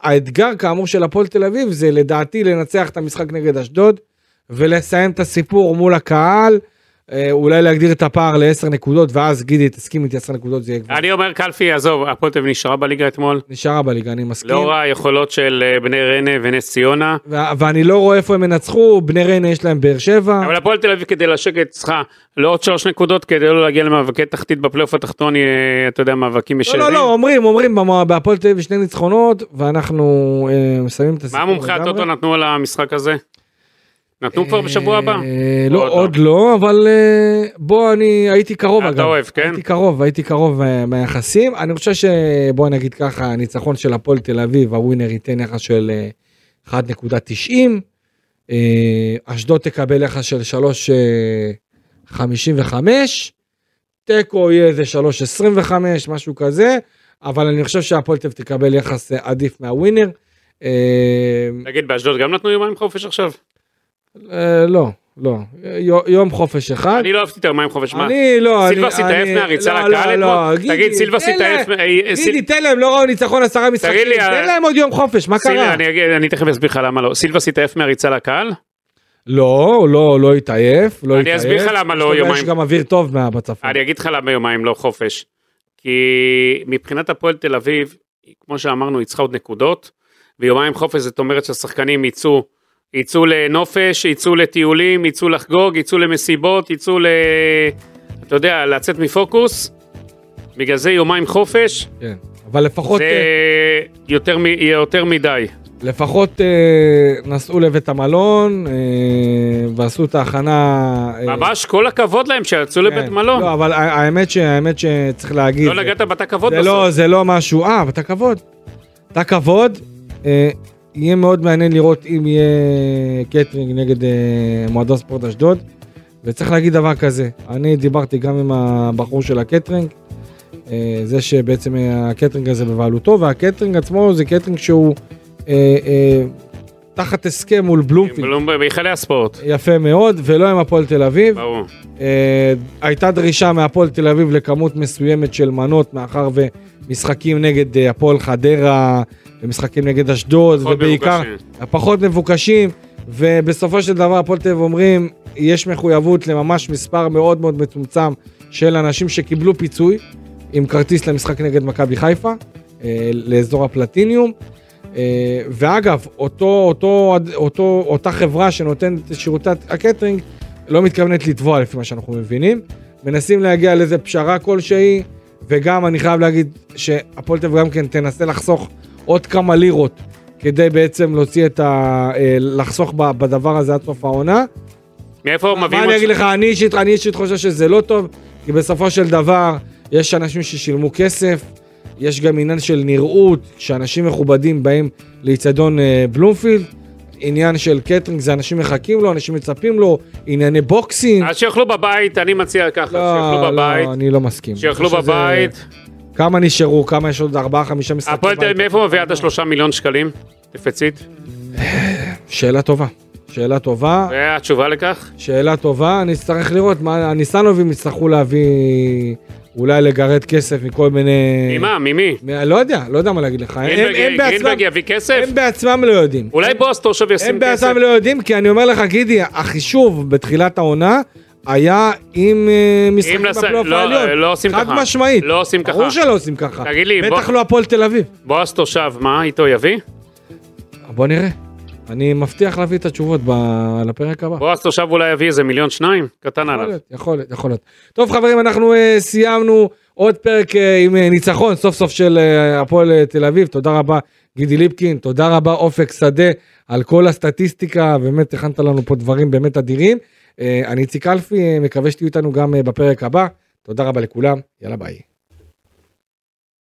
B: והאתגר כאמור של הפועל תל אביב זה לדעתי לנצח את המשחק נגד אשדוד, ולסיים את הסיפור מול הקהל. אה, אולי להגדיר את הפער ל-10 נקודות ואז גידי תסכים איתי 10 נקודות זה יהיה כבר
C: אני אומר קלפי, עזוב, הפועל תל אביב נשארה בליגה אתמול.
B: נשארה בליגה אני מסכים.
C: לאור היכולות של אה, בני ריינה ונס ציונה.
B: ו- ואני לא רואה איפה הם ינצחו, בני ריינה יש להם באר שבע.
C: אבל הפועל תל אביב כדי לשקט צריכה לא עוד שלוש נקודות כדי לא להגיע למאבקי תחתית בפלייאוף התחתון, אה, אתה יודע, מאבקים
B: לא,
C: ישרים.
B: לא, לא, אומרים, אומרים, במו- בהפועל תל אביב שני ניצחונות, ואנחנו אה, מסיימים את הסיפור
C: מה מומחי הטוטו נתנו על המשחק הזה? נתנו כבר בשבוע הבא?
B: אה,
C: או
B: לא,
C: עוד
B: עוד לא, אבל אה, בוא, אני הייתי קרוב
C: אתה
B: אגב.
C: אוהב, כן?
B: הייתי קרוב, הייתי קרוב אה, מהיחסים. אני חושב ש... בוא נגיד ככה, הניצחון של הפועל תל אביב, הווינר ייתן יחס של אה, 1.90. אה, אשדוד תקבל יחס של 3.55. תיקו יהיה איזה 3.25, משהו כזה. אבל אני חושב שהפועל תל אביב תקבל יחס אה, עדיף מהווינר. אה,
C: תגיד, באשדוד גם נתנו יומיים חופש עכשיו?
B: אה, לא, לא. יו- יום חופש אחד.
C: אני לא אהבתי את היומיים חופש. מה?
B: אני לא, אני...
C: סילבס התעייף
B: אני-
C: מהריצה
B: לא,
C: לקהל
B: לא, לא,
C: אתמול?
B: גידי,
C: תגיד, סילבס
B: תן
C: התעייף...
B: להם-
C: אה, אה,
B: גידי,
C: סיל-
B: תן להם, לא ראו ניצחון עשרה משחקים,
C: לי, אה,
B: תן להם עוד יום חופש, מה
C: סיל-
B: קרה?
C: אני אגיד- אני תכף אסביר לך למה לא. סילבס התעייף מהריצה לקהל?
B: לא, לא, לא התעייף, לא
C: אני
B: התעייף.
C: אסביר לך למה לא
B: יש לו-
C: יומיים.
B: יש גם אוויר טוב מה- בצפון.
C: אני אגיד לך למה יומיים לא חופש. כי מבחינת הפועל תל אביב, כמו שאמרנו, היא צריכה עוד נקודות, ויומיים חופש זאת אומרת שהשחקנים יצאו, יצאו לנופש, יצאו לטיולים, יצאו לחגוג, יצאו למסיבות, יצאו ל... אתה יודע, לצאת מפוקוס. בגלל זה יומיים חופש,
B: כן. אבל לפחות,
C: זה
B: אה,
C: יותר, מ... יותר מדי.
B: לפחות אה, נסעו לבית המלון אה, ועשו את ההכנה. אה,
C: ממש כל הכבוד להם שיצאו לבית
B: כן.
C: מלון.
B: לא, אבל ה- האמת ש- האמת שצריך להגיד.
C: לא נגעת בתא כבוד
B: זה לא,
C: בסוף.
B: זה לא משהו, אה, אבל אתה כבוד. אתה כבוד, אה, יהיה מאוד מעניין לראות אם יהיה קטרינג נגד אה, מועדון ספורט אשדוד. וצריך להגיד דבר כזה, אני דיברתי גם עם הבחור של הקטרינג, אה, זה שבעצם אה, הקטרינג הזה בבעלותו, והקטרינג עצמו זה קטרינג שהוא אה, אה, תחת הסכם מול בלומפילד.
C: בלום- לא- בהיכלי הספורט.
B: יפה מאוד, ולא עם הפועל תל אביב.
C: ברור.
B: אה, הייתה דרישה מהפועל תל אביב לכמות מסוימת של מנות, מאחר ומשחקים נגד אה, הפועל חדרה, ומשחקים נגד אשדוד,
C: פחות
B: ובעיקר
C: מבוקשים.
B: הפחות מבוקשים, ובסופו של דבר הפועל תל אביב אומרים, יש מחויבות לממש מספר מאוד מאוד מצומצם של אנשים שקיבלו פיצוי עם כרטיס למשחק נגד מכבי חיפה, אה, לאזור הפלטיניום. אה, ואגב, אותו, אותו, אותו, אותה חברה שנותנת את שירותי הקטרינג לא מתכוונת לתבוע לפי מה שאנחנו מבינים. מנסים להגיע לאיזה פשרה כלשהי, וגם אני חייב להגיד שהפועל תל אביב גם כן תנסה לחסוך עוד כמה לירות כדי בעצם להוציא את ה... אה, לחסוך ב- בדבר הזה עד סוף העונה.
C: מאיפה מביאים
B: מה אני אגיד לך, אני אישית, אני אישית חושב שזה לא טוב, כי בסופו של דבר יש אנשים ששילמו כסף, יש גם עניין של נראות, שאנשים מכובדים באים לאיצטדיון אה, בלומפילד, עניין של קטרינג זה אנשים מחכים לו, אנשים מצפים לו, ענייני בוקסינג.
C: אז שיאכלו בבית, אני מציע ככה, שיאכלו בבית,
B: לא, אני לא מסכים.
C: שיאכלו
B: אני חושב שזה-
C: בבית.
B: כמה נשארו, כמה יש עוד ארבעה, חמישה משחקים.
C: הפועל תל אביב,
B: בית?
C: מאיפה מביאה את השלושה מיליון שקלים? דפצית?
B: שאלה טובה. שאלה טובה,
C: והתשובה לכך?
B: שאלה טובה, אני אצטרך לראות מה הניסנובים יצטרכו להביא, אולי לגרד כסף מכל מיני...
C: ממה? ממי?
B: מה- לא יודע, לא יודע מה להגיד לך. הם-
C: גרינברג-
B: הם בעצמם-
C: גרינברג יביא כסף?
B: הם בעצמם לא יודעים.
C: אולי בוסטור שווה
B: הם
C: ישים כסף?
B: בעצמם לא יודעים, כי אני אומר לך, גידי, החישוב בתחילת העונה היה עם אה, משחקים
C: אם נעשה-
B: בפלייאוף
C: לא,
B: העליון.
C: לא עושים ככה.
B: חד משמעית.
C: לא עושים ככה.
B: ברור שלא עושים ככה.
C: תגיד לי,
B: בטח
C: בוא-
B: לא הפועל תל אביב.
C: בועז תושב, מה איתו יביא?
B: בוא נראה. אני מבטיח להביא את התשובות ב- לפרק הבא.
C: בועז תושב אולי יביא איזה מיליון שניים? קטן
B: יכול
C: עליו.
B: להיות, יכול להיות, יכול להיות. טוב חברים, אנחנו אה, סיימנו עוד פרק אה, עם אה, ניצחון סוף סוף של אה, הפועל אה, תל אביב. תודה רבה גידי ליפקין, תודה רבה אופק שדה על כל הסטטיסטיקה, באמת הכנת לנו פה דברים באמת אדירים. אה, אני איציק אלפי, אה, מקווה שתהיו איתנו גם אה, בפרק הבא. תודה רבה לכולם, יאללה ביי.